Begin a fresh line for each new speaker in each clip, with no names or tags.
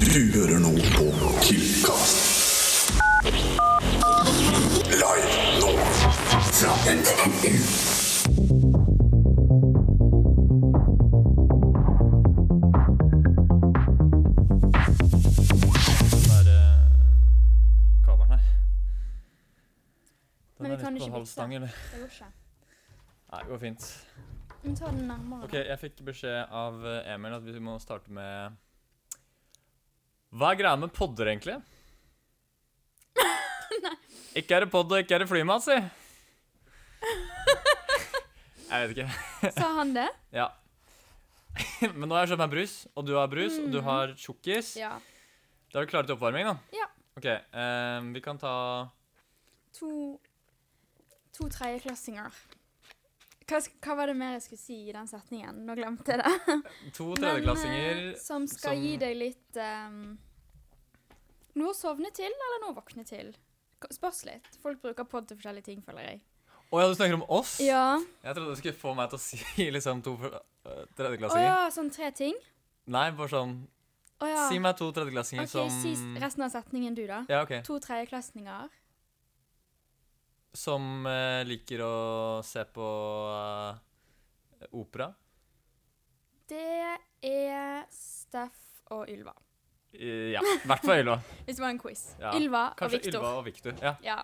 Du hører nå på Killcast. Live nå fra NTNU.
den der eh, kabelen her. Den
Men vi
er
kan
litt
ikke
på halv
bytte.
stang, eller?
Det går ikke.
Nei, det går fint.
Vi tar den nærmere.
Ok, jeg fikk beskjed av eh, Emil at vi må starte med Hva er greia med podder, egentlig? Ikke er det podd, og ikke er det flymat, si. Jeg vet ikke.
Sa han det?
Ja. Men nå har jeg kjøpt meg brus, og du har brus, og du har tjukkis.
Mm. Ja.
Da er vi klare til oppvarming, da.
Ja.
Ok, eh, vi kan ta
To To tredjeklassinger. Hva, sk- hva var det mer jeg skulle si i den setningen? Nå glemte jeg det.
to
Men, eh,
tredjeklassinger
som skal
som-
gi deg litt ehm, Noe å sovne til, eller noe å våkne til. K- Spørs litt. Folk bruker pod til forskjellige ting, føler jeg.
Å ja, du snakker om oss?
Ja.
Jeg trodde du skulle få meg til å si liksom to for- øh,
Å
tredjeklassinger.
ja, sånn tre ting?
Nei, bare sånn
Å ja.
Si meg to tredjeklassinger
OK,
som
si s- resten av setningen du, da.
Ja, ok.
To tredjeklassinger.
Som eh, liker å se på eh, opera.
Det er Steff og Ylva.
Eh, ja. I hvert fall Ylva.
Hvis det var en quiz.
Ja.
Ylva og
Kanskje
Viktor.
Ylva og Victor. Ja,
Ja.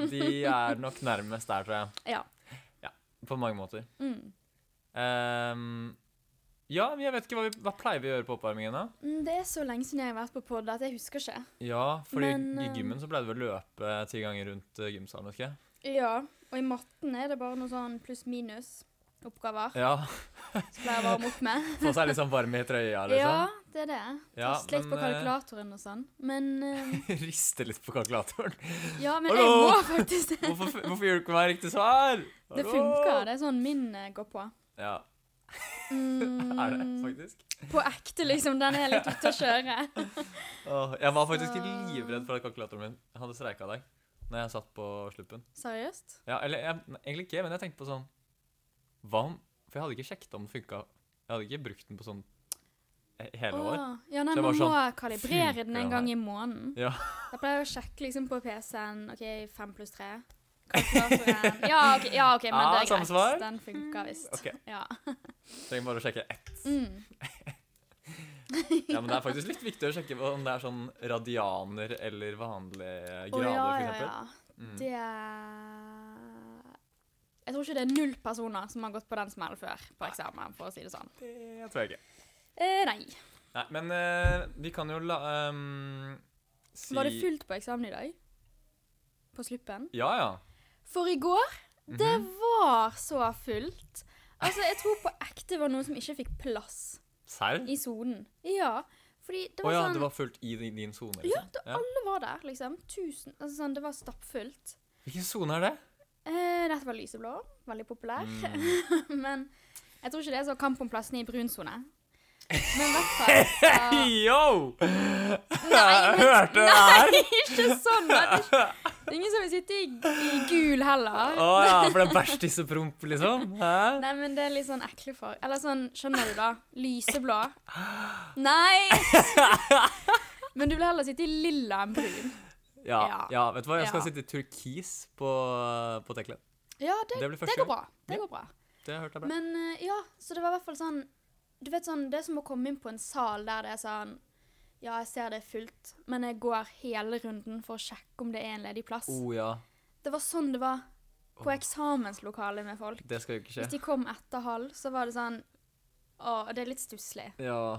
de er nok nærmest der, tror jeg.
ja.
På mange måter.
Mm.
Ehm, ja, men jeg vet ikke hva, vi, hva pleier vi å gjøre på oppvarmingen, da?
Mm, Det er så lenge siden jeg har vært på pod at jeg husker ikke.
Ja, fordi
Men,
i
eh,
gymmen så pleide vi å løpe ti ganger rundt eh, gymsalen, vet ikke jeg.
Ja, og i matten er det bare noe sånn pluss-minus-oppgaver
Ja,
som pleier å varme opp med.
Få seg litt sånn varm i trøya,
Ja,
liksom.
det er det.
Ja,
Taste litt
men,
på
eh,
kalkulatoren og sånn. Men eh,
Riste litt på kalkulatoren.
Ja, men jeg
Hallo!
må faktisk det.
Hvorfor, hvorfor gjorde du ikke meg riktig svar?
Det funker. Det er sånn min eh, går på.
Ja,
Mm,
er det faktisk?
På ekte, liksom. Den er litt ute å kjøre.
Åh, jeg var faktisk
Så-
livredd for at kalkulatoren min hadde streika i dag. Når jeg satt på sluppen.
Seriøst?
Ja, eller jeg, nei, egentlig ikke, men jeg tenkte på sånn Hva om For jeg hadde ikke sjekket om den funka. Jeg hadde ikke brukt den på sånn he- hele år.
Åh, ja, nei,
Så jeg var
man må
sånn,
kalibrere
funker
den
den
en gang
her?
i måneden.
Ja.
Jeg pleier å sjekke liksom på PC-en OK, fem pluss tre. Kalkulatoren. Ja, OK, ja, ok, men
Ja,
det er
samme
greit.
svar.
Den funker visst.
Ok.
Ja.
Trenger bare å sjekke ett.
Mm.
Ja, Men det er faktisk litt viktig å sjekke om det er sånn radianer eller vanlige
Å,
grader,
ja,
for
ja,
eksempel.
ja.
Mm.
Det er Jeg tror ikke det er null personer som har gått på den smellen før på eksamen, for å si det sånn.
Det tror jeg ikke.
Eh, nei.
Nei, men eh, vi kan jo la ehm, si
Var det fullt på eksamen i dag? På sluppen?
Ja, ja.
For i går, det
Mhm.
var så fullt. Altså, jeg tror på ekte det var noen som ikke fikk plass
Serr? Å
i sonen. Ja, fordi det
ja,
var sånn
det var fullt i din, din sone?
Ja,
Liksom.
det, alle var der, liksom. Tusen, altså sånn, det var stappfullt.
Hvilken sone er det?
Eh, dette var lyseblå, veldig populær. Men jeg tror ikke det er så kamp om plassene i brun sone. Men i hvert fall ja.
Yo!
Nei, men-
Hørte du det her?
ikke sånn! da. Det er ikke- det er ingen som vil sitte i, i gul heller.
Å ja, for det er bæsjtissepromp, liksom? Hæ?
Nei, men det er litt sånn ekle farge. Eller sånn, skjønner du da? Lyseblå. Nei! Men du vil heller sitte i lilla enn brun.
Ja,
Ja.
ja, vet du hva, jeg skal
Ja.
sitte i turkis på, på Tekla.
Ja, det,
Det blir
det,
første
går bra.
Ja.
Det går bra.
Det hørte jeg bra.
Men eh, ja, så det var i hvert fall sånn Du vet sånn, det er som å komme inn på en sal der det er sånn Ja, jeg ser det er fullt, men jeg går hele runden for å sjekke om det er en ledig plass.
Å oh, ja,
Det var sånn det var på eksamenslokalet med folk.
det skal jo ikke
Hvis
skje.
de kom etter halv, så var det sånn Å, det er litt stusslig.
Ja,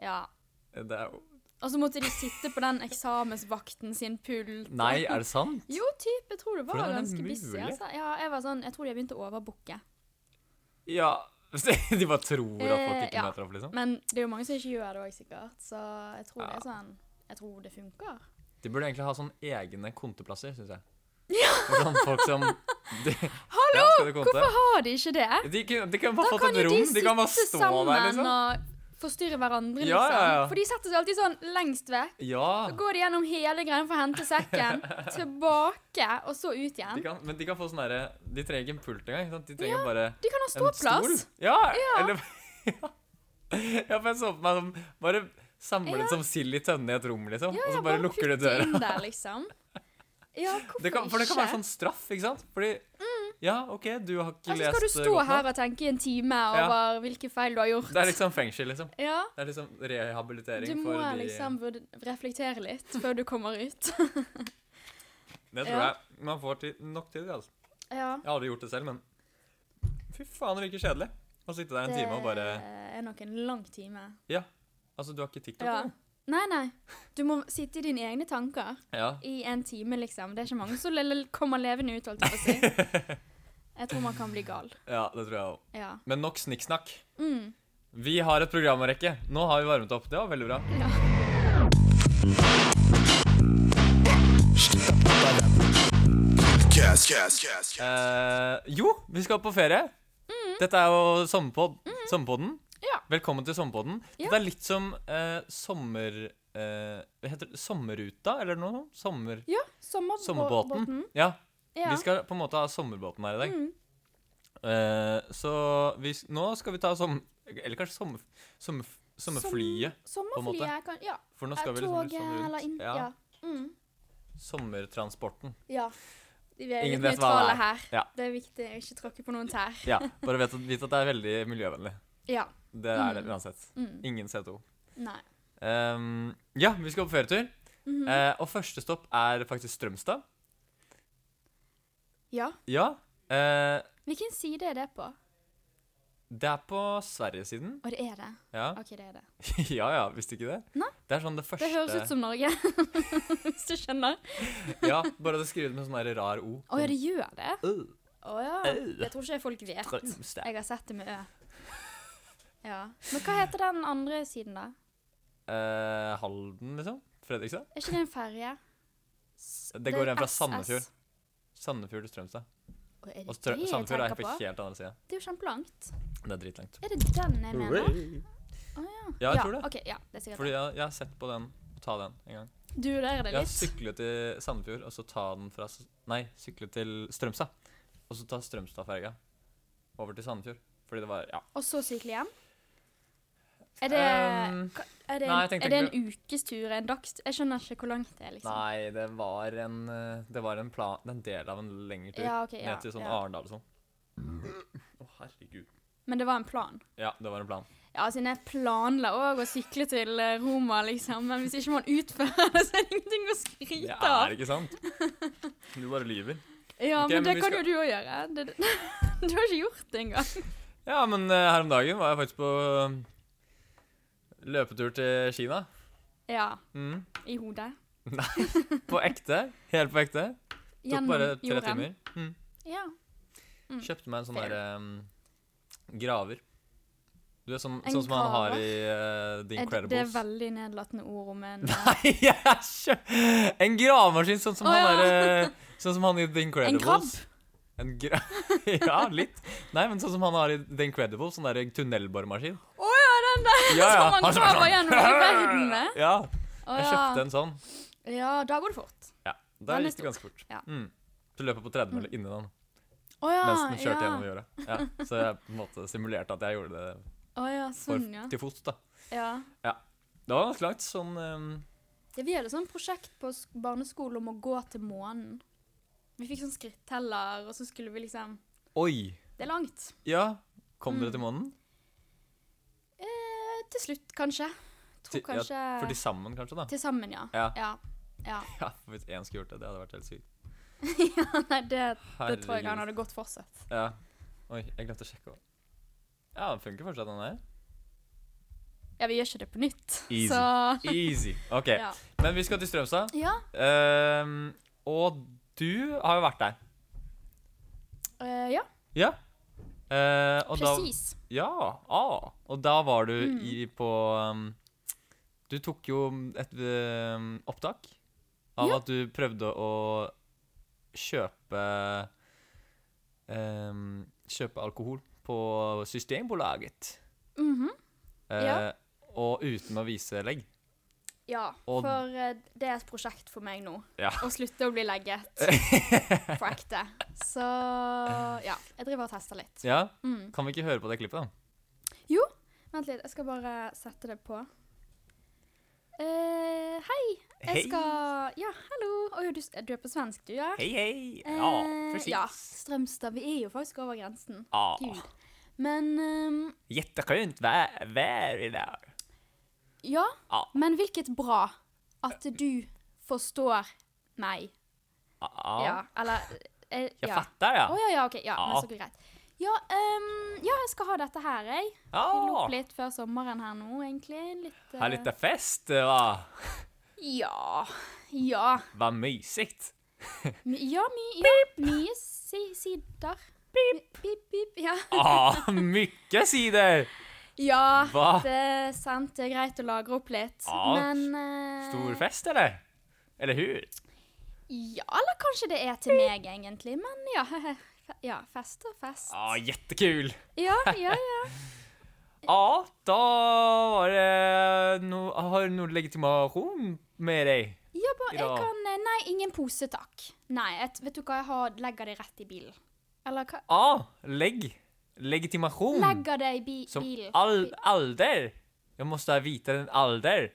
Ja.
det er jo
Og så måtte de sitte på den eksamensvakten sin pult.
Nei, er det sant?
Jo, typ. Jeg tror det var
Hvordan er det
ganske busy.
mulig?
Altså. Ja, jeg var sånn Jeg tror de har begynt å overbooke.
Ja. De bare tror at folk
Eh,
ikke
ja.
møter opp, liksom?
Men det er jo mange som ikke gjør det òg, sikkert. Så jeg tror det
Ja.
er sånn Jeg tror det funker.
De burde egentlig ha sånn egne konteplasser, syns jeg. For sånn folk som de,
Hallo!
Ja, skal du konte?
Hvorfor har de ikke det?
de, kan- de kan bare
Da
fått
kan
et
jo de
rom. De
sitte
kan bare stå
sammen
der, liksom.
og forstyrre hverandre, liksom.
Ja, ja, ja.
For de setter seg alltid sånn lengst vekk.
Ja.
Så går de gjennom hele greia for å hente sekken, tilbake, og så ut
De
igjen.
kan, men de kan få sånn derre De trenger ikke en pult engang. ikke sant? De trenger bare
De kan ha
en stol.
ståplass.
Ja, eller Ja, for jeg så på meg som bare Samlet som sild i tønne i et rom, liksom.
Ja,
og
ja,
så bare lukker du
putt
døra.
inn der, liksom. Ja, hvorfor
Det kan, for det kan
ikke?
være sånn straff, ikke sant? Fordi Ja, OK, du har ikke
Altså, Mm. skal du
lest
stå
godt nok.
her og tenke i en time
Ja.
over hvilke feil du har gjort?
Det er liksom fengsel, liksom.
ja.
Det er liksom rehabilitering
Du må
for de
liksom vurd- reflektere litt før du kommer ut.
Det tror
Ja.
jeg man får tid, nok til. Altså.
ja.
Jeg har aldri gjort det selv, men fy faen, det virker kjedelig. Å sitte der en time og bare
Det er nok en lang time.
Altså, du har ikke TikTok?
Ja.
eller?
Nei, nei. Du må sitte i dine egne tanker
ja.
i en time, liksom. Det er ikke mange som le- kommer levende ut, holdt jeg på å si. Jeg tror man kan bli gal.
ja, det tror jeg òg.
Ja.
Men nok snikksnakk.
Mm.
Vi har et program å rekke. Nå har vi varmet opp. Det var veldig bra.
ja.
Cast, cast, cast, cast.
Eh, jo, vi skal på ferie. Dette er jo sommerpod sommerpodden.
Mm. Ja.
Velkommen til sommerpodden.
Ja.
Dette er litt som eh, sommer... eh, hva heter det? Sommerruta, eller noe sånt? Sommer...
ja. Sommerbå-
Sommerbåten.
båten.
Ja.
Ja.
Vi skal på en måte ha sommerbåten her i dag.
Mm.
Eh, så vi, s- nå skal vi ta som... Eller kanskje sommer, sommer, sommerflyet.
Sommerflyet kan Ja.
For nå skal vi liksom
Toget
litt sånn
eller inn...
rundt.
Ja.
Ja.
Mm.
Sommertransporten.
ja. Vi er
Ingen
litt
vet hva det
nøytrale
er.
her.
Ja.
Det er viktig å ikke tråkke på noen tær.
Ja, bare vet, vit at det er veldig miljøvennlig.
Ja.
Det er det
Mm.
uansett.
Mm.
Ingen CO2.
Nei.
Ehm, ja, vi skal på ferietur.
Mhm.
Eh, og første stopp er faktisk Strømstad.
Ja.
Ja. eh,
Hvilken side er det på? Å,
det er på Sverigesiden.
det er det.
Ja.
OK, det er det.
ja ja, visste ikke det?
Nei.
Det er sånn det første
Det høres ut som Norge, hvis du skjønner.
Ja, bare det skrives med sånn der rar O.
Å ja, det gjør det?
Ø,
Å ja.
Au.
Jeg tror ikke folk vet.
Strømstad.
Jeg har sett det med Ø. Ja. Men hva heter den andre siden, da?
Eh, Halden, liksom? Fredrikstad?
Er ikke det en ferje? S-
Det går
er
en fra
SS.
Sandefjord. Sandefjord til Strømstad.
Å, er
Og
det
Strø
det jeg
Sandefjord er
tenker
på
på?
helt andre sida.
Det er jo kjempelangt.
Det er dritlangt.
Er det den jeg mener? Å Mm. ja.
Ja, jeg tror det.
OK, ja. Det er sikkert
Fordi jeg, jeg har sett på den og ta den en gang.
det. Du vurderer det
Jeg har
litt?
syklet til Sandefjord, og så ta den fra S- Nei, syklet til Strømstad. Og så ta Strømstadferga over til Sandefjord. Fordi det var Ja.
Og så sykle hjem? Er det,
Um,
ka- er det,
nei, jeg
en,
tenkte
er det en ukestur? En dagstur? Jeg skjønner ikke hvor langt det er, liksom.
Nei, det var en eh, Det var en plan det er En del av en lengre tur.
Ja, ok, ja,
ned til sånn
ja.
Arendal og sånn. Å, herregud.
Men det var en plan.
Ja, det var en plan.
Ja, siden jeg planla òg å sykle til eh, Roma, liksom. Men hvis ikke man utfører det, så er det ingenting å
Det
skryte av.
er ikke sant. Du bare lyver.
Ja,
Ok, men
men det
vi skal-
kan jo du òg gjøre. Det, det, du har ikke gjort det engang.
Ja, men eh, her om dagen var jeg faktisk på eh, løpetur til Kina.
Ja,
Mm.
i hodet.
På ekte. Helt på ekte. Tok bare tre timer. Mm.
Ja. Mm.
Kjøpte meg en sånn
Fair.
der ehm, graver. Du er sånn,
En
sånn som man har
graver?
i eh, The
Er det- Det er
Incredibles.
veldig nedlatende ord om en eh,
Nei, jeg kjø- En gravemaskin, sånn som
Å,
han
ja.
derre Sånn som han i The Incredibles. En grabb? ja, litt. Nei, men sånn som han har i The Incredibles, sånn derre tunnelboremaskin.
Å ja, den der
Ja, ja.
som man
Altså, sånn.
graver gjennom hele verden med.
Ja,
Å,
jeg
ja.
kjøpte en sånn.
ja, da går det fort.
Ja, Da
Den er
gikk det ganske fort.
Ja.
Mm. Så løp jeg på tredemølle inni den
Å ja,
mens den kjørte
ja.
gjennom jordet. Ja, så jeg på en måte simulerte at jeg gjorde det
Å ja,
for,
sånn, ja.
til fots, da.
ja.
Det var ganske langt. Sånn ehm,
Ja, vi hadde sånn prosjekt på sk- barneskolen om å gå til månen. Vi fikk sånn skritteller, og så skulle vi liksom
Oi!
Det er langt.
Ja, kom
Mm.
dere til månen?
Eh, til slutt, kanskje.
Til-
Tror
ja,
kanskje
For de sammen, kanskje? da?
Til sammen, ja.
Ja.
Ja. ja.
Ja, for Hvis én skulle gjort det, det hadde vært helt sykt.
Nei, det, det tror jeg
Herregud.
han hadde godt fortsatt.
Ja. Oi, jeg glemte å sjekke. også. Ja, den funker fortsatt, den der.
Ja, vi gjør ikke det på nytt,
Easy.
så
Easy. OK.
ja.
Men vi skal til Strømstad.
ja.
Ehm, og du har jo vært der.
eh, ja,
Ja. Eh, og
presis.
Da, ja. Ah, og da var du
Mm.
i på um, Du tok jo et um, opptak av
Ja.
at du prøvde å kjøpe um, Kjøpe alkohol på Systembolaget.
Mhm.
Eh,
Ja.
Og uten å vise legg.
Ja,
Og-
for eh, det er et prosjekt for meg nå.
Ja.
Å slutte å bli legget. På ekte. Så ja, jeg driver og tester litt.
Ja,
Mm.
Kan vi ikke høre på det klippet, da?
Vent litt, jeg skal bare sette det på. Eh, Hei, jeg skal Ja, hallo. Oi, du, du er på svensk, du, ja?
Hei, hei. Ja,
Eh,
precis. Ah.
Ja, Strömstad. Vi är ju faktiskt över gränsen.
Ja.
Gud. Men, ehm,
Jätteskönt vä- väder idag.
ja.
Ja.
Men vilket bra att du förstår mig.
Ja. Ah.
Ja. eller eh,
Jag
ja.
fattar
Å
ja.
ja, ja, OK. Ja,
Ja.
men så går det greit. Ja, ehm, ja, jeg skal ha dette her, jeg. Vi lo
Ja.
litt før sommeren her nå, egentlig. Litt eh,
Här lite fest va.
Ja. Ja.
Vad mysigt.
My, ja, my, ja. Mye si sider. Pip. Pip, pip. Ja.
Ja, mycket sidor.
ja
Va?
det er sant. Det er greit å lagre opp litt.
Ja,
Men eh,
Ah, Stor fest eller? Eller hur?
Ja, eller kanskje det er til meg, egentlig. Men ja. fe- Ja, fest og fest.
Ja, Ah, jättekul.
Ja, ja, ja.
Ja, då var det no, har du någon legitimation med dig?
Ja, bare, jeg
Ja.
kan eh, Nei, ingen pose, takk. Nei, et, vet du hva, jeg har, legger det rett i bilen. Eller hva?
Ja, lägg. Legitimation.
Legger det i bi
Ah, Mm. Som
bilen.
all, alder. Jag måste ha vita den alder.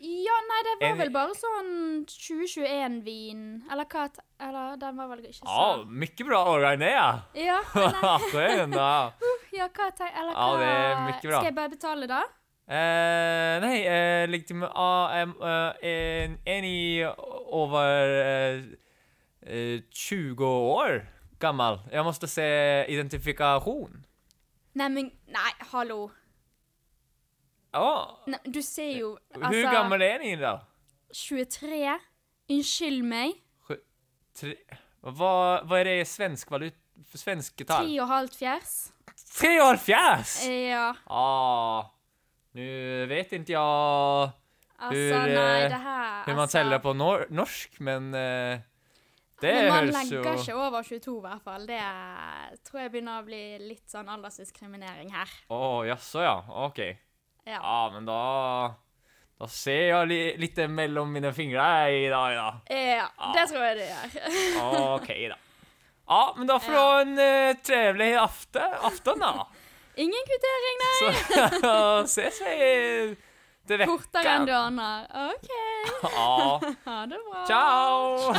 Ja, nei, det var
En-
vel bare sånn 2021-vin. Eller hva? t- Eller den var vel ikke så
Ja, mycket Ah, bra årgång det ja.
Ja, nei,
Skön ja.
ja hva te- Eller hva?
Ja, det er mye bra.
Skal jeg bare betale, da?
Eh, nej, eh, legitim... ah, em, eh, en, en i över eh, eh, 20 år gammal. Jag måste se identifikation.
Nei, men Nei, hallo.
Ja,
Nei, du ser jo
hur
Altså
gammal är ni då?
23. Unnskyld meg.
Sju- Tre, vad, vad är det i svensk valut... för Svensktal?
Tre Eh. och halvt fjärs.
Tre år fjärs!
Ja,
Ja, nu vet inte jag
altså
Hur,
Nei,
eh,
det her
hur man
altså,
teller på nor norsk, men eh, det
Men man
hörs ju...
legger ikke over 22, i hvert fall. Det eh, tror jeg begynner å bli litt sånn aldersdiskriminering her.
Åh, jaså ja, okej.
Ja.
Ja, men da Da ser jeg li litt mellom mine fingre i dag, da.
ja det tror jeg det gjør.
OK, da. Ja, men da får du ha en eh, trevlig aften, aften da.
Ingen kvittering, nei!
Så ses vi til vekka.
Kortere enn du aner. OK.
Ja.
Ha det bra.
Ciao!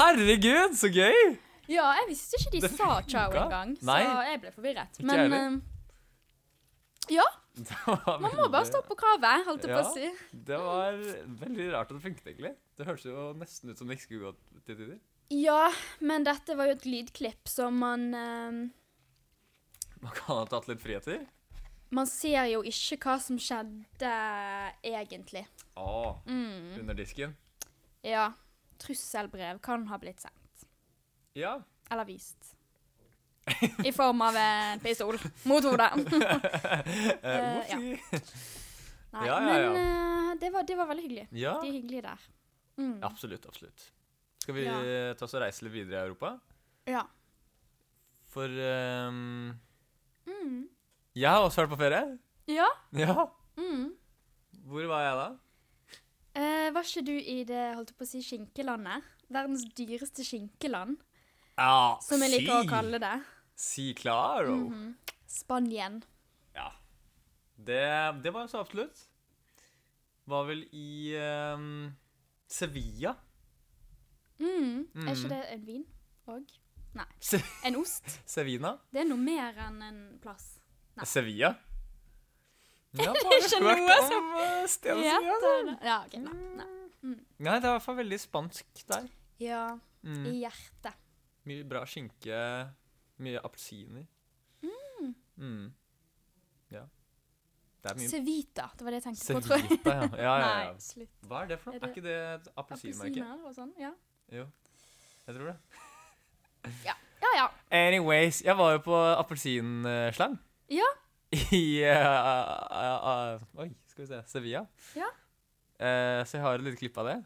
Herregud, så gøy!
Ja, jeg visste ikke de
Det
sa ciao
funka.
engang, så
Nei.
jeg ble forvirret.
Ikke jeg
Men
heller.
eh, ja,
Det var
man må bare
veldig-
stå på kravet, holdt jeg
Ja.
på å si.
Det var veldig rart at det funket, egentlig. Det hørtes jo nesten ut som det ikke skulle gå til tider.
Ja, men dette var jo et lydklipp som man eh,
Man kan ha tatt litt friheter.
Man ser jo ikke hva som skjedde egentlig.
Å,
Mm.
under disken.
Ja. Trusselbrev kan ha blitt sendt.
Ja.
Eller vist. I form av en pistol mot hodet.
Eh,
Eh, ja.
whoopsie.
Nei,
Ja, ja, ja.
men eh, det, var, det var veldig hyggelig.
ja.
De er hyggelige der. Mm.
absolutt. Absolutt. Skal vi
Ja.
eh, ta oss og reise litt videre i Europa?
Ja.
For ehm,
Mm.
Jeg har også vært på ferie.
ja.
Ja.
Mm.
Hvor var jeg da?
Eh, var ikke du i det holdt jeg på å si, skinkelandet? Verdens dyreste skinkeland,
Ja,
som jeg liker å kalle Mhm. det.
Si claro.
Spanien.
Ja. Det, det var så absolutt. Var vel i ehm, Sevilla.
Mm. Er
Mm.
ikke det en vin òg? Nei.
Se
En ost?
Sevina?
Det er noe mer enn en plass. Nei.
Sevilla? Ja,
Ikke noe
som eh, stedet Sevilla.
Ja, det er det. ja, ok, nei, nei.
Nei, det var i hvert fall veldig spansk der.
ja
Mm.
i hjertet.
Mye bra skinke, mye appelsiner. Mm. Ja. Det er mye
Cevita, det var det jeg tenkte på, tror jeg.
Cevita, ja. ja, ja,
Nei,
ja.
slutt.
Hva er det for noe?
Er det-
Er ikke det et appelsinmerke?
Appelsiner og sånn. Ja.
Jo, jeg tror det.
ja ja.
Anyways, jeg var jo på appelsinslang.
Ja.
I eh, eh, eh, Oi, skal vi se Sevilla.
Ja.
Eh, så jeg har et lite klipp av det.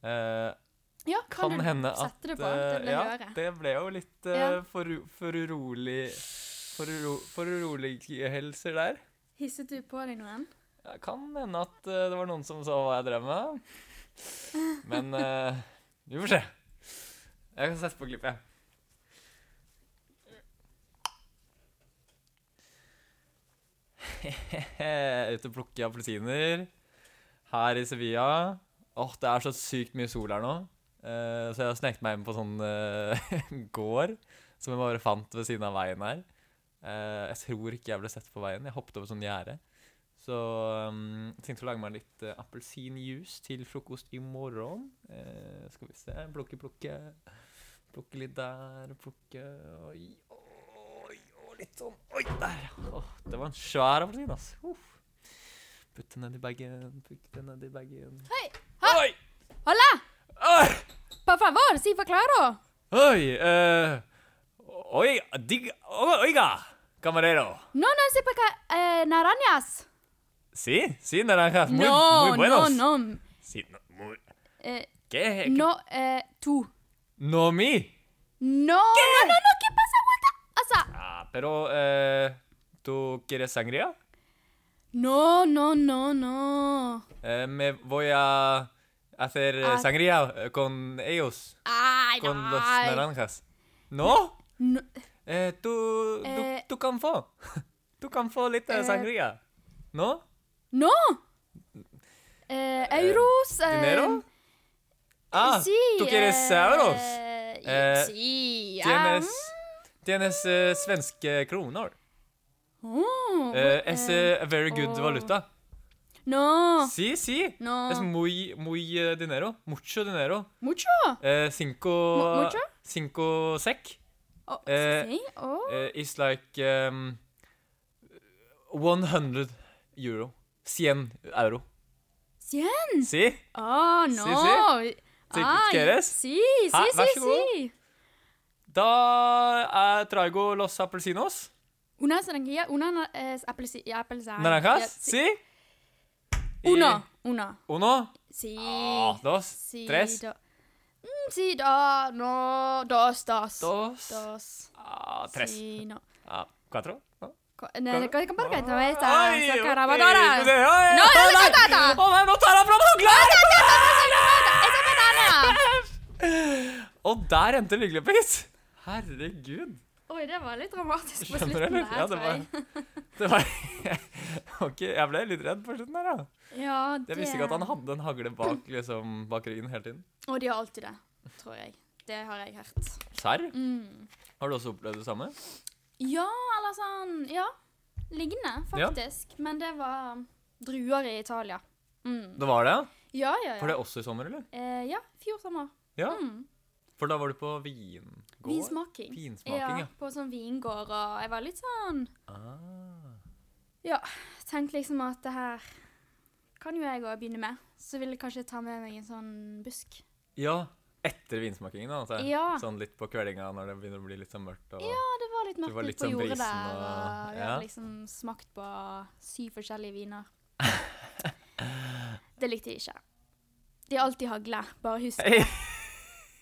Eh,
ja
kan
kan, du
hende at
sette det på? Det vil jeg
eh,
høre.
Det ble jo litt eh,
Ja.
foru- forurolig foruro- Foruroligelser der.
Hisset du på deg noen?
Ja, kan hende at eh, det var noen som så hva jeg drev med. Men eh, vi får se. Jeg kan sette på klippet. ute og plukke appelsiner her i Sevilla. Åh, det er så sykt mye sol her nå. Eh, så jeg har sneket meg inn på sånn eh, gård som jeg bare fant ved siden av veien her. Eh, jeg tror ikke jeg ble sett på veien. Jeg hoppet over sånn gjerde. Så um, tenkte å lage meg litt uh, appelsinjuice til frokost i morgen. Eh, skal vi se Plukke, plukke. Plukke litt der, plukke Oi, oi, oi litt sånn. Oi, der. Åh, det var en svær appelsin, ass. Uff. Putte ned i bagen, putte ned i bagen.
Hei! Ha-
Oi!
Hola!
Oi!
Por favor, si forklaro!
Oi! eh, oi, dig, oiga, camarero.
No, no, si paca eh, naranjas!
Sí, sí, naranjas. Muy,
No,
muy buenos.
no, no.
Sí, no, muy...
Eh,
¿Qué? ¿Qué?
no, eh, tú.
No mi.
No, no, no, no, ¿qué pasa? Aguanta. Asa.
Ah, pero, eh, ¿tú quieres sangría?
No, no, no, no.
Eh, me voy a hacer eh,
Ah.
sangría eh, con ellos,
Ay,
con los
ay.
naranjas. ¿No?
No,
Eh, tú,
Eh.
tú, tú canfó. Tú canfó lite
Eh.
sangría. ¿No?
no. Eh, euros. eh,
¿Dinero? Ah,
sí.
¿tú quieres
eh,
euros?
eh,
Eh,
sí. ah,
Tienes, tienes eh, svenska kronor.
oh,
Eh, es eh, a very good
oh.
valuta.
no.
Sí, sí.
No.
Es muy, muy eh, dinero. Mucho dinero.
Mucho.
Eh, cinco...
Mu- mucho?
Cinco sec.
Oh,
Eh,
sí. Oh.
Eh, is like um, 100 euro. 100 euro.
Cien.
Sí?
Oh, no.
sí. Sí,
Ay,
¿quieres?
Sí, sí,
Ah, vær
sí,
så god.
sí.
Da er traigo los appelsinos.
Una naranjilla, una na- es apelsi- apelsina.
Naranjas.
Ja,
Sí. Y-
Uno, uno.
Uno.
Sí.
Oh, dos.
sí,
tres.
do- Mm, sí, da, no, dos, dos.
Dos.
Dos.
Ah, tres.
Sí, no.
Ah, cuatro. No.
Co- ne- ne- co- perché te ves a
Ai,
Ah, esa
ok,
caravadora?
det- oi,
No,
å
det er
nei!
cantata!
Å nei, nå tar han fram håndkleet!
Esa banana!
Og der endte Lyglepris! Herregud.
Oi, det var litt dramatisk på
Skjønner
slutten
du?
der,
Ja, det
tror jeg.
var, det var Ok, jeg ble litt redd på slutten her, da.
Ja, det...
Jeg visste ikke at han hadde en hagle bak, liksom, bak ryggen hele tiden.
Og de har alltid det, tror jeg. Det har jeg hørt.
Serr?
Mm.
Har du også opplevd det samme?
Ja, eller sånn Ja. Lignende,
Ja.
faktisk. Men det var druer i Italia. Mm.
Det var det, ja?
Ja, ja, ja.
Var det også i sommer, eller?
Eh, ja, fjor sommer.
Ja.
Mm.
For da var du på vingård?
Vinsmaking.
Vinsmaking, ja.
På sånn vingård, og jeg var litt sånn
Ah.
Ja, tenkte liksom at det her kan jo jeg òg begynne med. Så vil jeg kanskje ta med meg en sånn busk.
Ja, etter vinsmakingen, da. antar jeg.
Ja.
Sånn litt på kveldinga når det begynner å bli litt sånn mørkt. Og...
Ja, det var litt
Det
mørkt
var litt
ute på
sånn
jordet
brisen
der,
og-
og vi
ja.
hadde liksom smakt på syv forskjellige viner. Det likte de ikke. De har alltid hagle, bare husk det.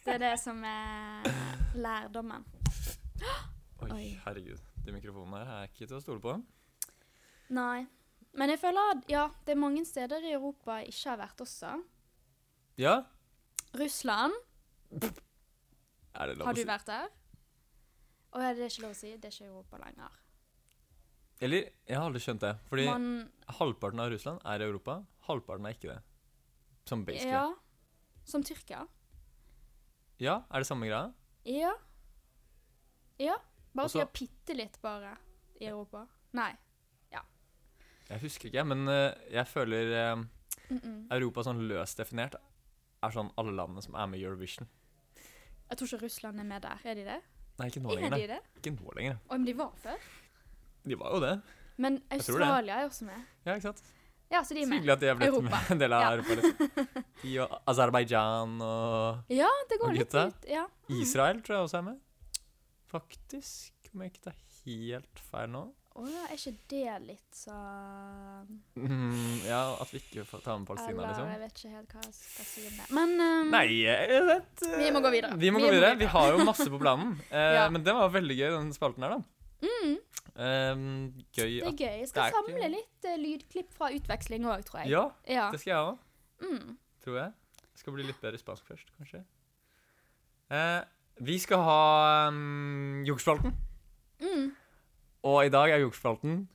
Det er det som er lærdommen.
Oi,
Oi.
herregud. De mikrofonene her er ikke til å stole på.
Nei. Men jeg føler at ja, det er mange steder i Europa jeg ikke har vært også.
Ja?
Russland,
Er det lov
har du
å si?
vært der? Å ja, det er ikke lov å si. Det er ikke Europa lenger.
Eller, jeg har aldri skjønt det. Fordi
Man
halvparten av Russland er i Europa, halvparten er ikke det. Sånn basically.
Ja. Som Tyrkia.
Ja, er det samme greia?
Ja. Ja. Bare
Og så-
skal bitte litt, bare, i Europa. Nei.
Jeg husker ikke, men eh, jeg føler eh,
Mm -mm.
Europa sånn løst definert er sånn alle landene som er med i Eurovision.
Jeg tror ikke Russland er med der. Er de det?
Nei, ikke nå
Er
lenger.
de
nei.
det?
Ikke nå lenger.
Å, men de var før.
De var jo det.
Men
tror det.
Australia er også med.
Ja, ikke sant?
Ja, så de er
Så
med.
hyggelig at de er blitt
Europa.
med en del av
Ja.
Europa. Liksom. De og Aserbajdsjan og
Ja, det går
Og
litt
gutta?
ut. Ja.
Israel tror jeg også er med. Faktisk, om jeg ikke tar helt feil nå.
Å ja, er ikke det litt så
Mm, ja, at vi ikke får ta med Palestina,
Eller jeg
liksom.
vet ikke helt hva jeg skal si om det. Men ehm,
Nei, jeg vet eh,
Vi må gå videre.
Vi må gå videre. Vi har jo masse på planen. Eh,
Ja. Mm.
Men det var veldig gøy, den spalten her, da. Eh, gøy
det er
at
gøy. Jeg
Det
skal
er ikke-
samle litt eh, lydklipp fra utveksling òg, tror jeg.
Ja,
Ja.
det skal jeg òg.
Mm.
Tror jeg. Skal bli litt bedre i spansk først, kanskje. Eh, vi skal ha ehm, um, jukspalten.
Mm.
Og i dag er jukspalten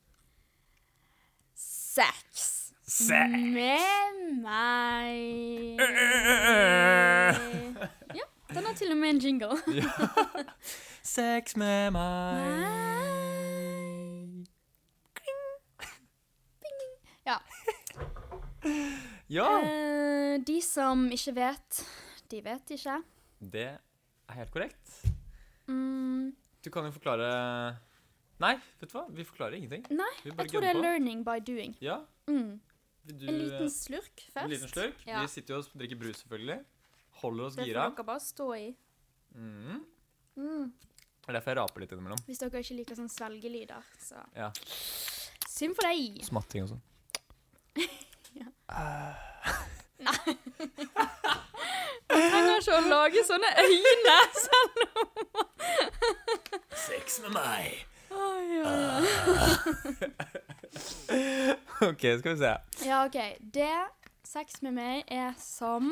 sex
Se.
Mm. med meg. Ja, den har til og med en jingle.
Sex med meg.
Meg. Ja.
Ja,
Eh, de som ikke vet, de vet ikke.
det er helt korrekt.
Mm,
Du kan jo forklare Nei, vet du hva? Vi forklarer ingenting.
nei,
Vi bare
jeg tror det er
gønner på.
learning by doing.
Ja,
Mm.
vil du
En
eh,
liten slurk først.
En liten slurk.
Ja.
Vi sitter jo og drikker brus, selvfølgelig. Holder oss
Det får
gira.
dere bare stå i.
Mm.
Mm.
Det er derfor jeg raper litt innimellom.
Hvis dere ikke liker sånn svelgelyder, så
Ja.
Synd for deg.
Smatting og sånn.
Trenger ikke å lage sånne øyne.
Sex med meg!
Oi, oi, oi.
OK, skal vi se.
Ja, OK. Det sex med meg er som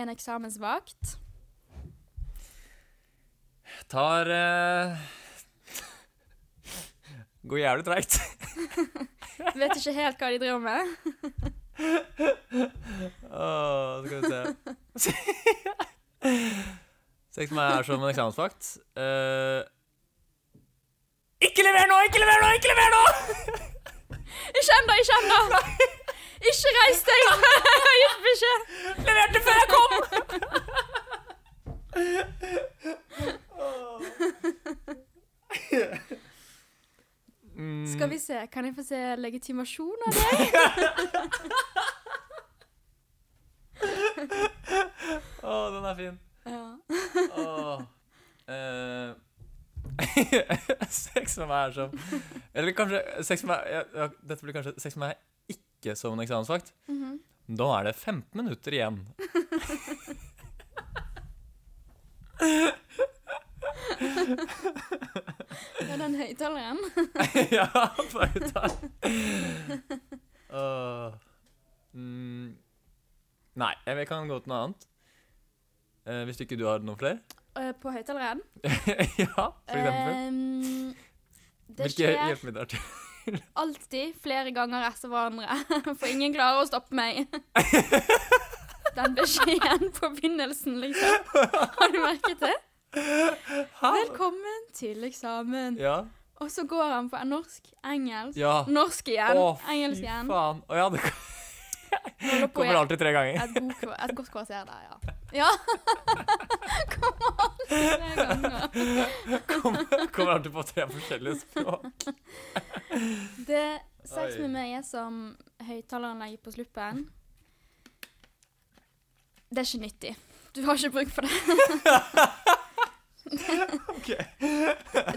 en eksamensvakt.
Tar eh, Går jævlig treigt.
Vet ikke helt hva de driver med.
Åh, skal vi se. Sex med meg er som en eksamensvakt. Eh, ikke lever nå! Ikke lever nå! Ikke lever nå!
Ikke ennå, ikke ennå! Ikke reis deg! Jeg har gitt beskjed.
Leverte før jeg kom! Mm.
Skal vi se, kan jeg få se legitimasjon av deg?
Å, den er fin.
Ja.
Åh. Eh, sex med meg er som Eller kanskje sex med meg ja, ja, Dette blir kanskje sex med meg er ikke som en eksamensvakt. Da er det 15 minutter igjen.
ja den høyttaleren.
ja, bauta. Åh. mm. Nei, jeg jeg kan gå til noe annet. Eh, hvis ikke du har noen flere?
Eh, På høyttaleren.
ja, for eksempel.
Ehm, Eh, det
Hvilke
skjer
hjelpemidler til?
alltid flere ganger etter hverandre, for ingen klarer å stoppe meg. Den beskjeden på begynnelsen, liksom. Har du merket det? Velkommen til eksamen.
Ja.
Og så går han på norsk, engelsk,
ja.
norsk igjen,
Å,
engelsk igjen.
faen. Å ja, det
Holder på
kommer
i
alltid tre ganger.
et, god, kva- et godt kvarter der, ja. Ja. Kommer alltid tre ganger.
Kommer, kommer alltid på tre forskjellige språk.
Det sex
Oi.
med meg er som høyttaleren legger på sluppen. Det er ikke nyttig. Du har ikke bruk for det.
Ok.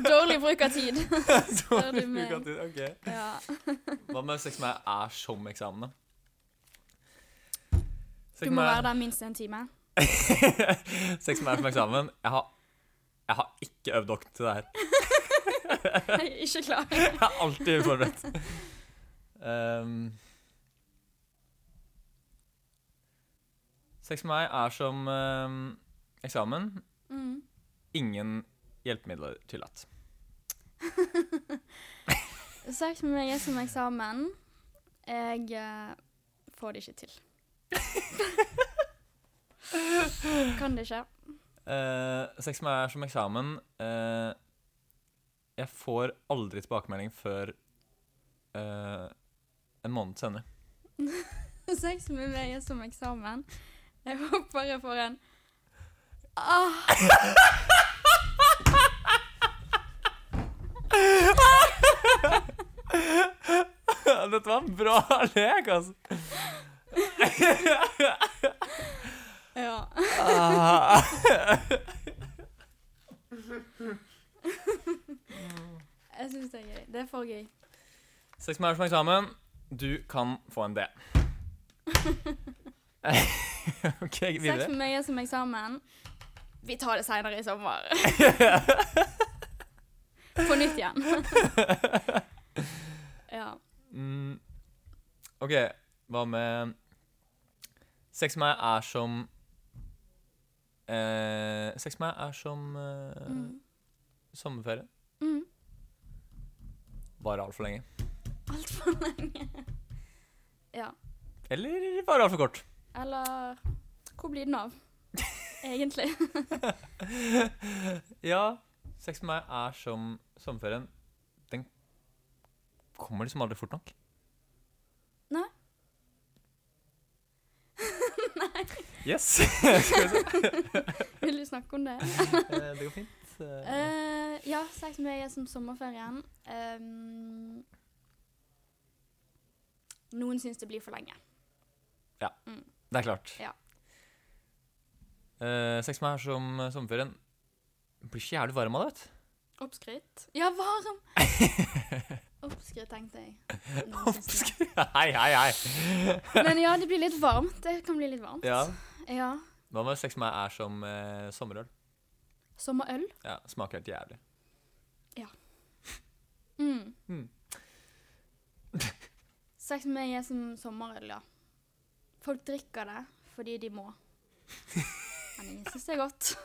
Dårlig bruk av tid.
Så
Hører du
vi
meg?
bruker tid, ok.
Ja.
Hva med sex med meg er som eksamen, da?
Du må være der minst en time.
der. sex med meg er som eksamen. Jeg har, jeg har ikke øvd nok til det her.
Jeg er ikke klar.
Jeg er alltid uforberedt. Ehm. sex med meg er som ehm, eksamen.
Mm.
Ingen hjelpemidler tillatt.
Sex med meg er som eksamen. Jeg eh, får det ikke til. kan det ikke.
Eh, sex med meg er som eksamen. Eh, jeg får aldri tilbakemelding før eh, en måned senere.
Sex med meg er som eksamen. Jeg håper jeg får en ah.
Dette var en bra lek, altså.
Ja. Jeg syns det er gøy. Det er for gøy.
Sex med meg er som eksamen. Du kan få en D. OK,
Sex
videre.
med meg er som eksamen. Vi tar det seinere i sommer. På nytt igjen. ja.
Mm, OK, hva med Sex med meg er som eh, Sex med meg er som eh,
Mm.
sommerferie.
Mm.
Varer altfor lenge.
Altfor lenge. Ja.
Eller var det altfor kort?
Eller Hvor blir den av? Egentlig.
Ja, sex med meg er som sommerferien. Den kommer liksom aldri fort nok.
Nei.
Yes! Skal vi se.
Vil du snakke om det?
Eh, Det går fint. Eh,
Eh, ja, sex med meg er som sommerferien. Ehm, noen syns det blir for lenge.
Det er klart.
ja.
Eh, Sex med meg er som eh, sommerferien. Blir ikke jævlig varm av det, vet du.
Oppskrytt. Ja, varm! Oppskrytt, tenkte jeg. Noen syns det.
Hei, hei, hei.
Men ja, det blir litt varmt. Det kan bli litt varmt.
Ja.
Ja.
Hva med sex med meg er som eh, sommerøl?
Sommerøl.
Ja, Smaker helt jævlig.
Mm.
Mm.
Sex med meg er som sommerøl, ja. Folk drikker det fordi de må. Men ingen syns det er godt.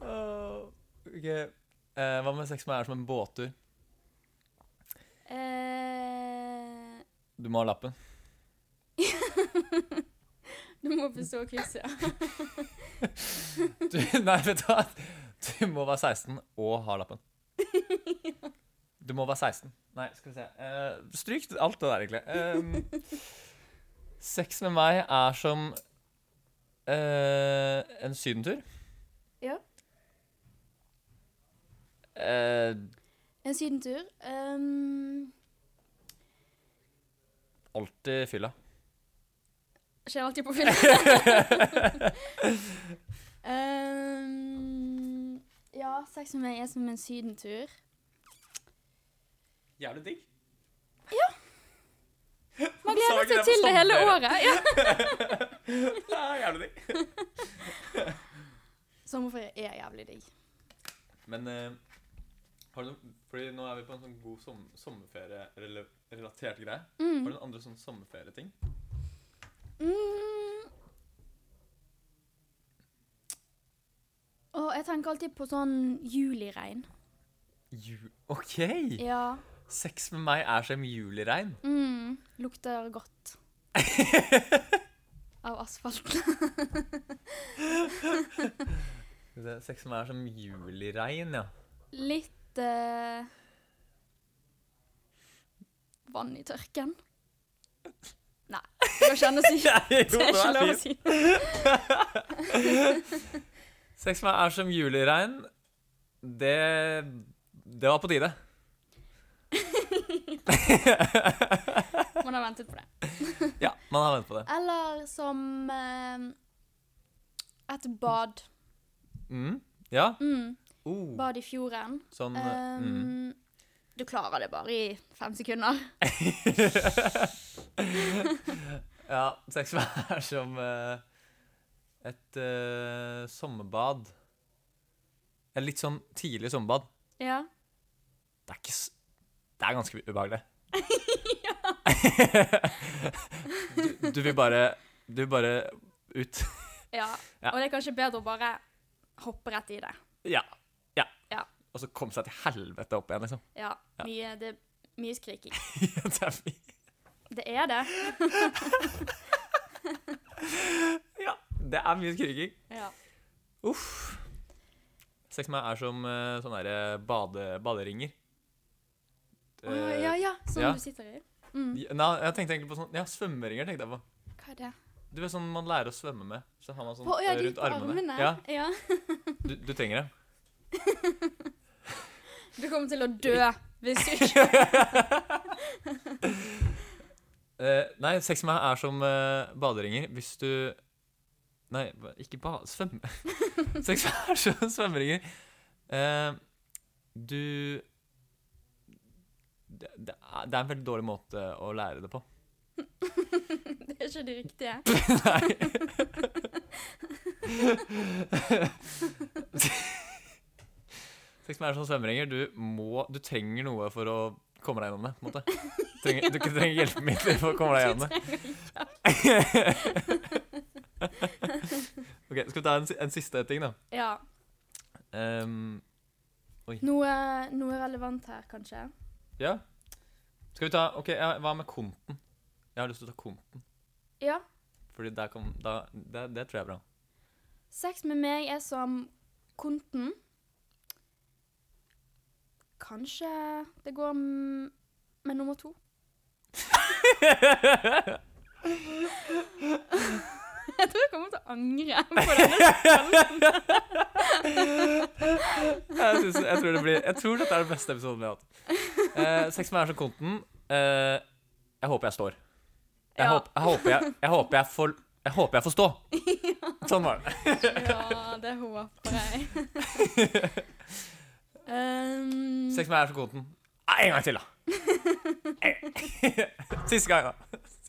Åh, ok. Eh, hva med sex med meg er som en båttur?
Eh,
Du må ha lappen.
du må bestå quiz, ja.
Du, nei, vet du hva? Du må være 16 og ha lappen. Du må være 16. Nei, skal vi se. Eh, stryk alt det der, egentlig. Eh, sex med meg er som eh, en sydentur.
Ja.
Eh,
En sydentur. Um,
alltid fylla.
skjer alltid på film. um, ja, sex med meg er som en sydentur.
Jævlig digg.
Man
Sa ikke
gleder seg
det på
til det hele
sommer.
året. Ja.
Ja, jævlig digg.
Sommerferie er jævlig digg.
Men eh, har du noen, fordi nå er vi på en sånn god som, sommerferie-relatert greie. Har du noen andre sånn sommerferieting?
Mm. Og jeg tenker alltid på sånn juliregn.
Ju OK!
Ja.
Sex med meg er som juliregn.
Mm. Lukter godt. Av asfalt.
Skal vi se, Sex med meg er som juliregn, ja.
Litt eh, vann i tørken. Nei, det går ikke an å si. Det er ikke lov å si.
Sex med meg er som juliregn. Det Det var på tide.
Man har ventet på det.
Ja, man har ventet på det.
Eller som eh, et bad.
Mm. Ja.
Mm.
Oh,
Bad i fjorden.
sånn eh, mm.
Um, Du klarer det bare i fem sekunder.
Ja, sex med meg er som eh, et eh, sommerbad. Et litt sånn tidlig sommerbad.
Ja.
Det er ikke s Det er ganske ubehagelig. du, du vil bare Du vil bare ut.
ja.
Ja.
Og det er kanskje bedre å bare hoppe rett i det.
Ja. Ja.
Ja.
Og så komme seg til helvete opp igjen, liksom.
Ja.
Ja.
Mye, det er mye skriking.
det er fint.
Det er det.
Ja, det er mye skriking.
Ja.
Uff. Sex med meg er som eh, sånne der bade, baderinger.
Å, ja, ja. Som
Eh, ja.
du sitter i.
Eh, ja, Nei, jeg tenkte egentlig på sånn Ja, svømmeringer tenkte jeg på.
Hva er det?
Du vet sånn man lærer å svømme med. Så har man sånn
Å ja,
eh,
de
rundt
på
armene.
armene.
Ja,
Ja.
du, du trenger det.
Du kommer til å dø hvis du ikke
Eh, nei, sex med meg er som eh, baderinger. Hvis du Nei, hva- ikke ba... Svømme... sex med meg er som svømmeringer. Eh, du det, det er det er en veldig dårlig måte å lære det på.
Det er ikke det riktige.
Sex med meg er som svømmeringer. Du må Du trenger noe for å komme deg gjennom det. på en måte. Trenger, du trenger hjelpemidler for å komme deg gjennom det. Ok, Skal vi ta en, si- en siste ting, da?
Ja.
Ehm,
Noe, noe relevant her, kanskje.
ja. Skal vi ta OK, ja, hva med kompen? Jeg har lyst til å ta kompen,
Ja.
Fordi der kom da, det, det tror jeg er bra.
Sex med meg er som konten. Kanskje det går m- med nummer to. Jeg tror jeg kommer til å angre på denne.
Jeg, synes, jeg, tror det blir, jeg tror dette er den beste episoden vi har hatt. Eh, sex med meg er som konten. Eh, jeg håper jeg står. Jeg,
Ja.
håper, jeg, håper jeg, jeg håper jeg får Jeg håper jeg får stå. Sånn var det.
Ja, det håper jeg. Um,
Sex med meg er som konten. Nei, en gang til, da. En- Siste gang, da.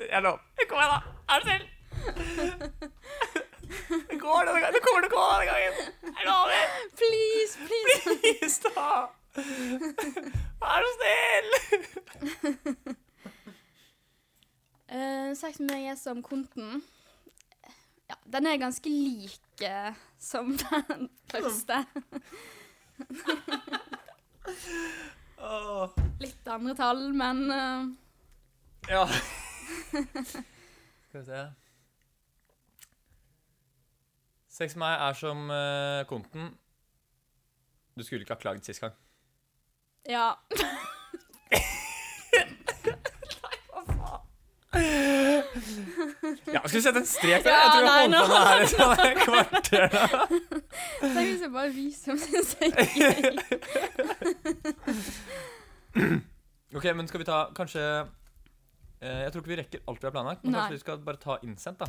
Jeg lover. Kom igjen, da. Er du snill? Det går denne gangen. Det kommer til å gå denne gangen. Jeg lover.
please, please.
Please, da! Vær så snill!
Eh, sex med meg er som konten. Ja, den er ganske lik eh, som den første. Litt andre tall, men eh,
Ja. Skal vi se Sex med meg er som eh, konten. Du skulle ikke ha klagd sist gang.
ja.
Ja, Skal vi sette en strek der?
Ja,
jeg tror vi
nei,
har holdt på med det
nå-
her i sånn et kvarter. nå.
Tenk hvis det bare er vi som syns det er gøy.
Ok, men skal vi ta kanskje eh, Jeg tror ikke vi rekker alt vi har planlagt, men
Nei. Mm.
kanskje vi skal bare ta innsendt, da.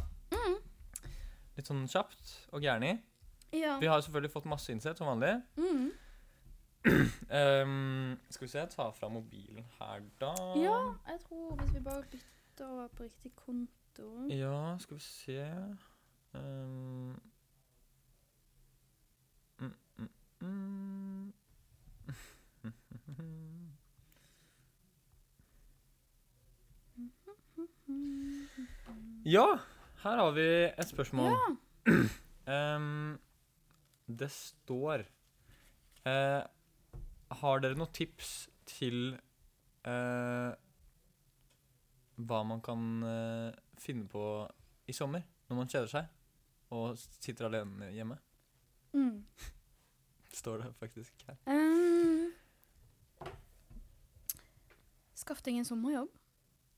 Litt sånn kjapt og gærent.
Ja.
Vi har selvfølgelig fått masse innsett som vanlig.
Mm.
Ehm, skal vi se, ta fra mobilen her, da.
ja, jeg tror hvis vi bare bytter over på riktig konto
Ja, skal vi se Ehm. mm, mm, mm. Ja, her har vi et spørsmål. Ehm, det står eh, Har dere noen tips til eh, hva man kan eh, finne på i sommer når man kjeder seg og sitter alene hjemme?
Mm.
Står det faktisk her.
Um, Skaff deg en sommerjobb.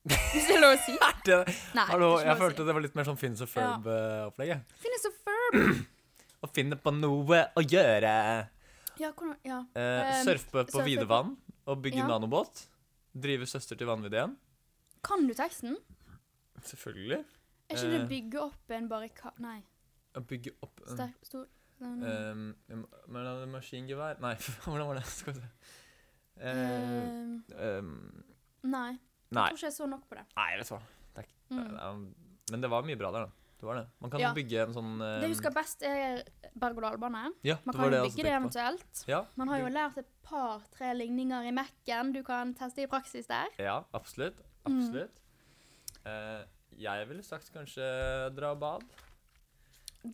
Hvis det er lov å si.
Det, hallo,
Nei, det er ikke
jeg
lov å si.
følte det var litt mer sånn Finns og
Ja.
Ferb-opplegget.
Finnes det furb?
Å finne på noe å gjøre.
Ja, hvordan, ja.
Eh,
Um,
surfe på
surfe på-
videvann og bygge
Ja.
nanobåt. Drive søster til vanvideen.
Kan du teksten?
Selvfølgelig.
Er ikke det
Eh.
bygge opp en barrikade Nei.
Og bygge opp eh, en
Sterk, stor den,
um, Maskingevær Nei, hvordan var det? Skal vi se. Eh,
eh,
um,
Nei.
nei. Eh,
Jeg tror ikke jeg så nok på det.
Nei, vet du hva. Det er ikke-
Mm.
det er- Men det var mye bra der, da. Det var det. Man kan
Ja.
bygge en sånn eh,
Det jeg husker best, er berg-og-dal-bane.
ja, var
Man kan jo
jeg også
bygge det
tenkte på.
eventuelt.
Ja,
Man har jo
bygge-
lært et par-tre ligninger i Mac-en du kan teste i praksis der.
Ja, absolutt.
Mm.
Absolutt. Eh, jeg ville sagt kanskje dra og bad.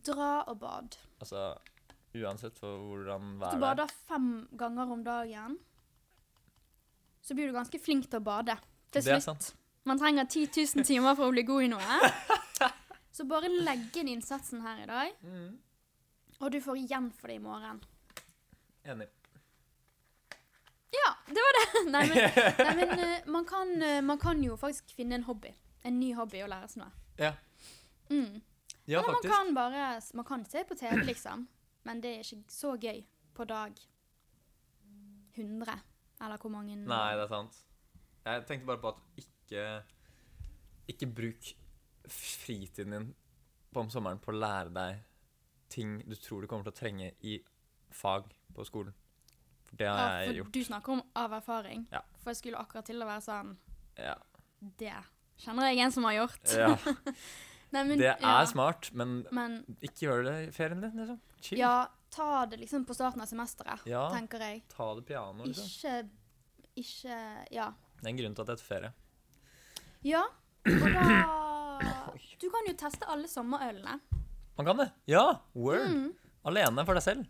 Dra og bad.
Altså uansett for hvordan
Hvis du
været er.
bader fem ganger om dagen, så blir du ganske flink til å bade. Til
Det er
slutt.
sant.
Man trenger 10 000 timer for å bli god i noe. Så bare legg inn innsatsen her i dag,
Mm.
og du får igjen for det i morgen.
Enig.
Ja, det var det! Nei, men, nei, men eh, man, kan, eh, man kan jo faktisk finne en hobby. En ny hobby å lære seg noe.
Ja,
Mm.
ja
Eller man
faktisk.
kan bare Man kan se på TV, liksom, men det er ikke så gøy på dag 100. Eller hvor mange
Nei, det er sant. Jeg tenkte bare på at ikke Ikke bruk fritiden din på om sommeren på å lære deg ting du tror du kommer til å trenge i fag på skolen. For det har
ja,
jeg
for
gjort.
Du snakker om av erfaring.
Ja.
For jeg skulle akkurat til å være sånn
Ja.
Det kjenner jeg en som har gjort.
ja.
Nei, men,
Eh, Det
ja.
er smart, men
Men
ikke gjør det i ferien din, liksom. Chill.
ja, ta det liksom på starten av semesteret,
Ja.
tenker jeg.
Ta det piano, liksom.
Ikke Ikke Ja.
Det er en grunn til at det heter ferie.
Ja, og da Du kan jo teste alle sommerølene. Mm.
Man kan det. Ja! Word. Alene for deg selv.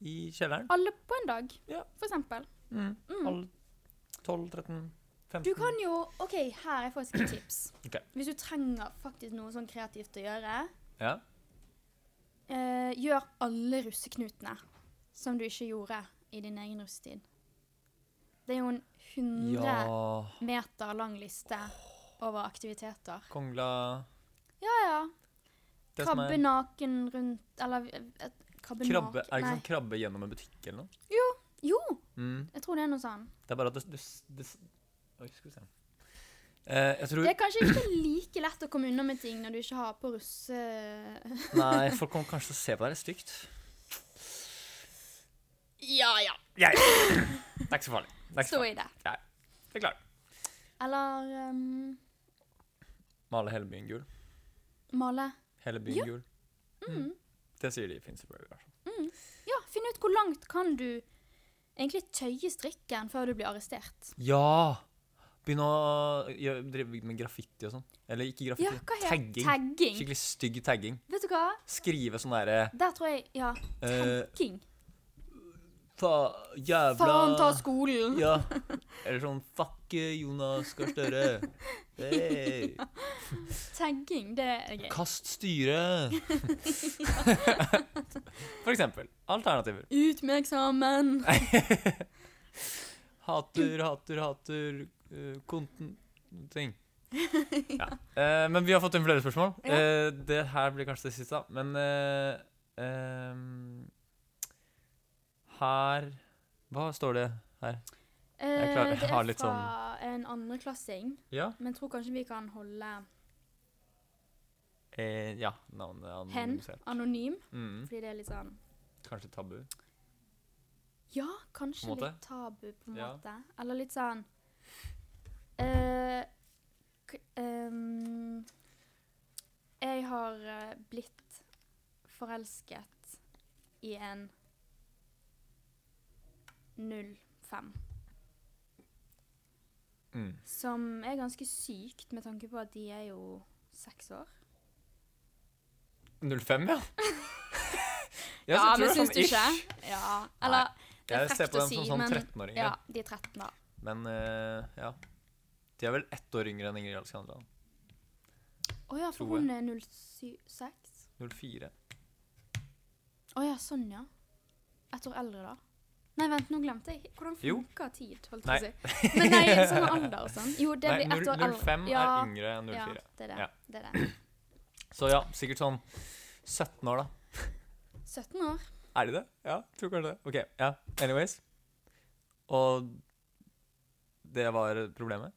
i kjelleren.
Alle på en dag,
Ja.
for eksempel.
Mm.
Mm.
12, 13, 15
Du kan jo OK, her er faktisk et tips.
Ok.
Hvis du trenger faktisk noe sånn kreativt å gjøre,
Ja.
eh, gjør alle russeknutene som du ikke gjorde i din egen russetid. Det er jo en 100
ja.
meter lang liste over aktiviteter.
Kongla
Ja, ja.
det som er-
Krabbe naken rundt Eller eh, krabbe
Krabbe, er det ikke
naken
sånn krabbe gjennom en butikk eller noe?
Nei. Jo,
Mm.
jeg tror det er noe sånn.
Det er bare at det, det, det Oi, skal vi se. Eh, jeg tror
Det er kanskje ikke like lett å komme unna med ting når du ikke har på russe...
Nei, folk kommer kanskje til å se på deg litt stygt.
Ja, ja.
Jeg. Det er ikke så farlig. Det er ikke så
Så
farlig.
er det.
Det er klart.
Eller ehm,
Male hele byen gul.
male.
Hele byen
Ja.
gul.
Mm.
Det sier de i Finsterbrave, i hvert fall.
Ja, finne ut hvor langt kan du egentlig tøye strikken før du blir arrestert.
Ja! Begynne å gjøre- drive med graffiti og sånn. Eller ikke graffiti.
Ja, hva heter
tagging.
Tagging.
Skikkelig stygg tagging.
Vet du hva?
Skrive sånn derre
Der tror jeg Ja,
eh,
tagging.
Fa... Jævla
Faen ta skolen!
Ja. Eller sånn Fuck eh, Jonas Gahr Støre. Hey.
Tagging, det er gøy.
Kast styret! For eksempel. Alternativer.
Ut med eksamen!
Hater, hater, hater eh, konten ting. Ja. Eh, men vi har fått inn flere spørsmål.
Ja.
Eh, det her blir kanskje det siste, da. Men eh, ehm, Her Hva står det her?
Eh,
klarer-
det
jeg har
er
litt sånn-
fra en andreklassing,
Ja.
men tror kanskje vi kan holde
Eh, ja. Navnet
hen
anonymisert.
anonym,
Mm,
fordi det er litt sånn
kanskje tabu.
Ja,
På
kanskje
en måte?
litt tabu, på en
Ja.
måte. Eller litt sånn eh, k ehm, Jeg har eh, blitt forelsket i en 05.
Mm.
Som er ganske sykt, med tanke på at de er jo seks år.
05, ja?
Ja,
så tror
men
jeg sånn
syns du ikke?
ish.
Ja, eller Det er
Jeg ser
frekt
på
å
dem som
si,
sånn
men-
13-åringer.
Ja, de er 13, da.
Men eh, ja. De er vel ett år yngre enn Ingrid Alexandra.
Å ja, for
Tror jeg.
hun er 076?
04.
Å ja, sånn ja. Ett år eldre, da. Nei, vent, nå glemte jeg. Hvordan
Jo.
funker tid? holdt jeg på å si. Men nei, sånn alder og sånn. Jo, det
Nei,
blir ett år eldre.
05
ja,
er yngre enn 04.
Ja, det er det.
Ja.
det, er det.
Så ja, sikkert sånn 17 år, da.
17 år.
Er de det? Ja, tror kanskje det. Ok, ja. Anyways. Og det var problemet.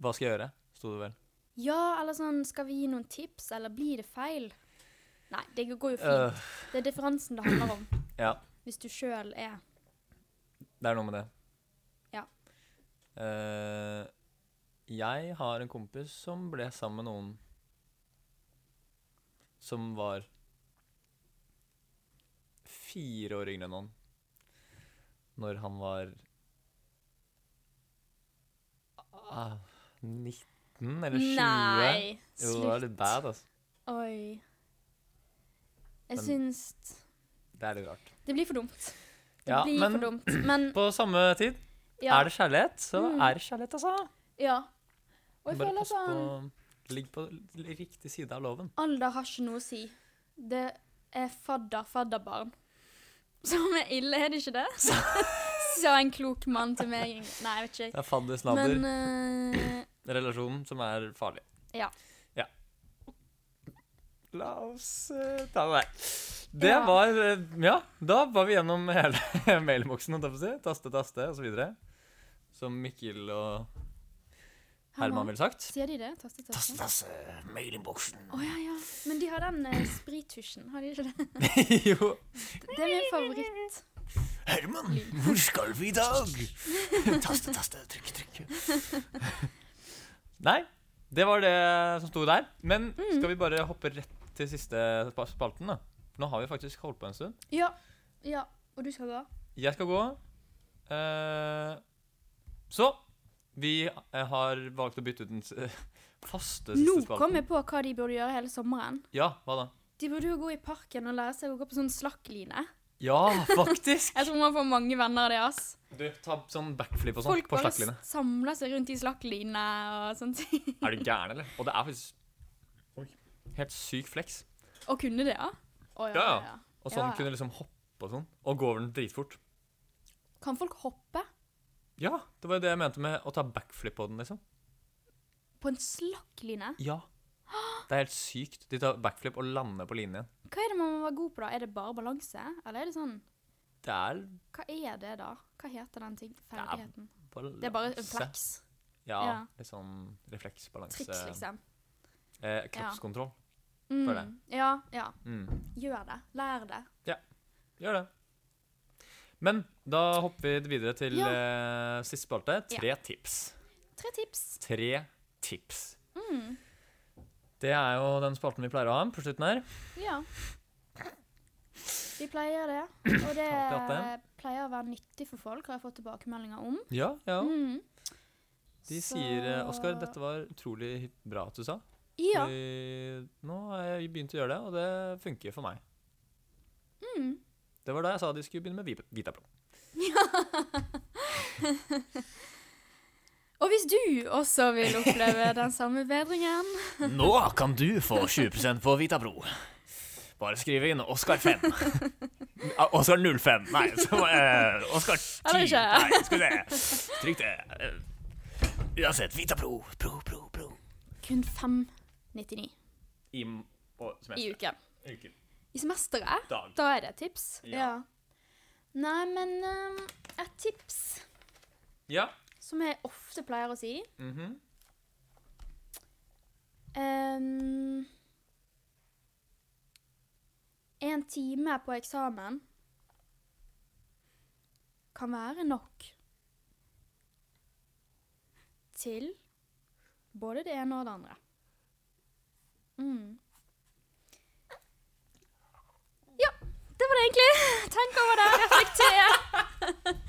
Hva skal jeg gjøre? Sto det vel.
Ja, eller sånn, skal vi gi noen tips, eller blir det feil? Nei, det går jo fint.
Øh,
Det er differansen det handler om.
ja,
Hvis du sjøl er
det er noe med det.
Ja.
Eh, jeg har en kompis som ble sammen med noen som var fire år yngre enn han når han var ah, 19 eller 20.
Nei,
Jo, det var
slutt.
litt bad, altså.
Oi.
Men-
Jeg syns
Det er litt rart.
Det blir for dumt. Det
Ja,
blir
men
for dumt. Men
på samme tid,
ja.
er det kjærlighet, så
Mm.
er det kjærlighet, altså.
Ja. Og jeg
Bare
føler
pass på
sånn
Ligg på l- riktig side av loven.
Alder har ikke noe å si. Det er fadder-fadderbarn. Som er ille, er det ikke det? Sa en klok mann til meg. Nei, jeg vet ikke.
Det er fadder, snadder,
Men eh,
relasjonen som er farlig.
Ja.
Ja. La oss eh, ta det der. Det
Ja.
var eh, Ja, da var vi gjennom hele mailboksen, holdt jeg på å si. Taste, taste, osv. Som Mikkel og Herman
Herman,
ville sagt.
sier de det? Taste, taste.
tasse, mailboksen.
Å ja, ja. Men de har den eh, sprittusjen, har de ikke det?
jo.
Det er min favoritt.
Herman, hvor skal vi i dag? Taste, taste, trykke, trykke.
Nei, det var det som sto der. Men
Mm.
skal vi bare hoppe rett til siste spa- spalten, da? For nå har vi faktisk holdt på en stund.
Ja. ja. Og du skal gå?
Jeg skal gå. Eh, så vi eh, har valgt å bytte ut den s- eh, faste siste
Nå
spalten.
kom jeg på hva de burde gjøre hele sommeren.
Ja, hva da?
De burde jo gå i parken og lære seg å gå på sånn slakkline.
Ja, faktisk!
Jeg tror man får mange venner av det, ass.
Du, ta sånn backflip og sånn
Folk
på
bare
slakklinja.
samler seg rundt i slakklinene og sånne ting.
Er du gæren, eller? Og det er faktisk helt syk flex.
Og kunne det, ja? Å, ja,
Ja,
ja, ja.
Og sånn
Ja.
kunne liksom hoppe og sånn. Og gå over den dritfort.
Kan folk hoppe
Ja, det var jo det jeg mente med å ta backflip på den, liksom.
på en slakkline?
Ja. Det er helt sykt. De tar backflip og lander på linjen.
Hva er det man må være god på, da? Er det bare balanse? Eller er det sånn
Det er
Hva er det, da? Hva heter den ting?
er
Ferdigheten?
bare
Det er bare en flaks.
Ja,
Ja.
litt sånn refleksbalanse.
Triks, liksom.
Eh, kroppskontroll.
Mm.
for det.
Ja, ja.
Mm.
Gjør det. Lær det.
Gjør det. Men da hopper vi videre til
Ja.
eh, siste spalte. Tre tips.
Tre tips. Mm.
Tre tips. Det er jo den spalten vi pleier å ha på slutten her.
Ja. Vi pleier det. Og det
Alltid hatt
pleier å være nyttig for folk, har jeg fått tilbakemeldinger om.
Ja, ja.
Mm.
De sier eh,
Så-
Oskar, dette var utrolig bra at du sa.
Ja.
Fordi nå har jeg begynt å gjøre det, og det funker for meg.
Mm.
Det var da jeg sa de skulle begynne med Vi- Vitapro.
Og hvis du også vil oppleve den samme bedringen
Nå kan du få 20 på Vitapro. Bare skriv inn Oscar 5. Ah, Oscar 05. Nei, så, eh, Oscar 10.
Eller ikke.
Nei, skal vi se. Trykk det. Eh, Uansett, Vitapro. Pro, pro, pro.
Kun 5,99
I, m- og, som
i
jeg-
uken.
uke.
I semesteret?
Dag.
Da er det et tips.
Ja.
Nei, men um, et tips
Ja.
som jeg ofte pleier å si
mhm.
um, En time på eksamen kan være nok til både det ene og det andre. Mm. Ja, det var det egentlig. Tenk over det, reflekter.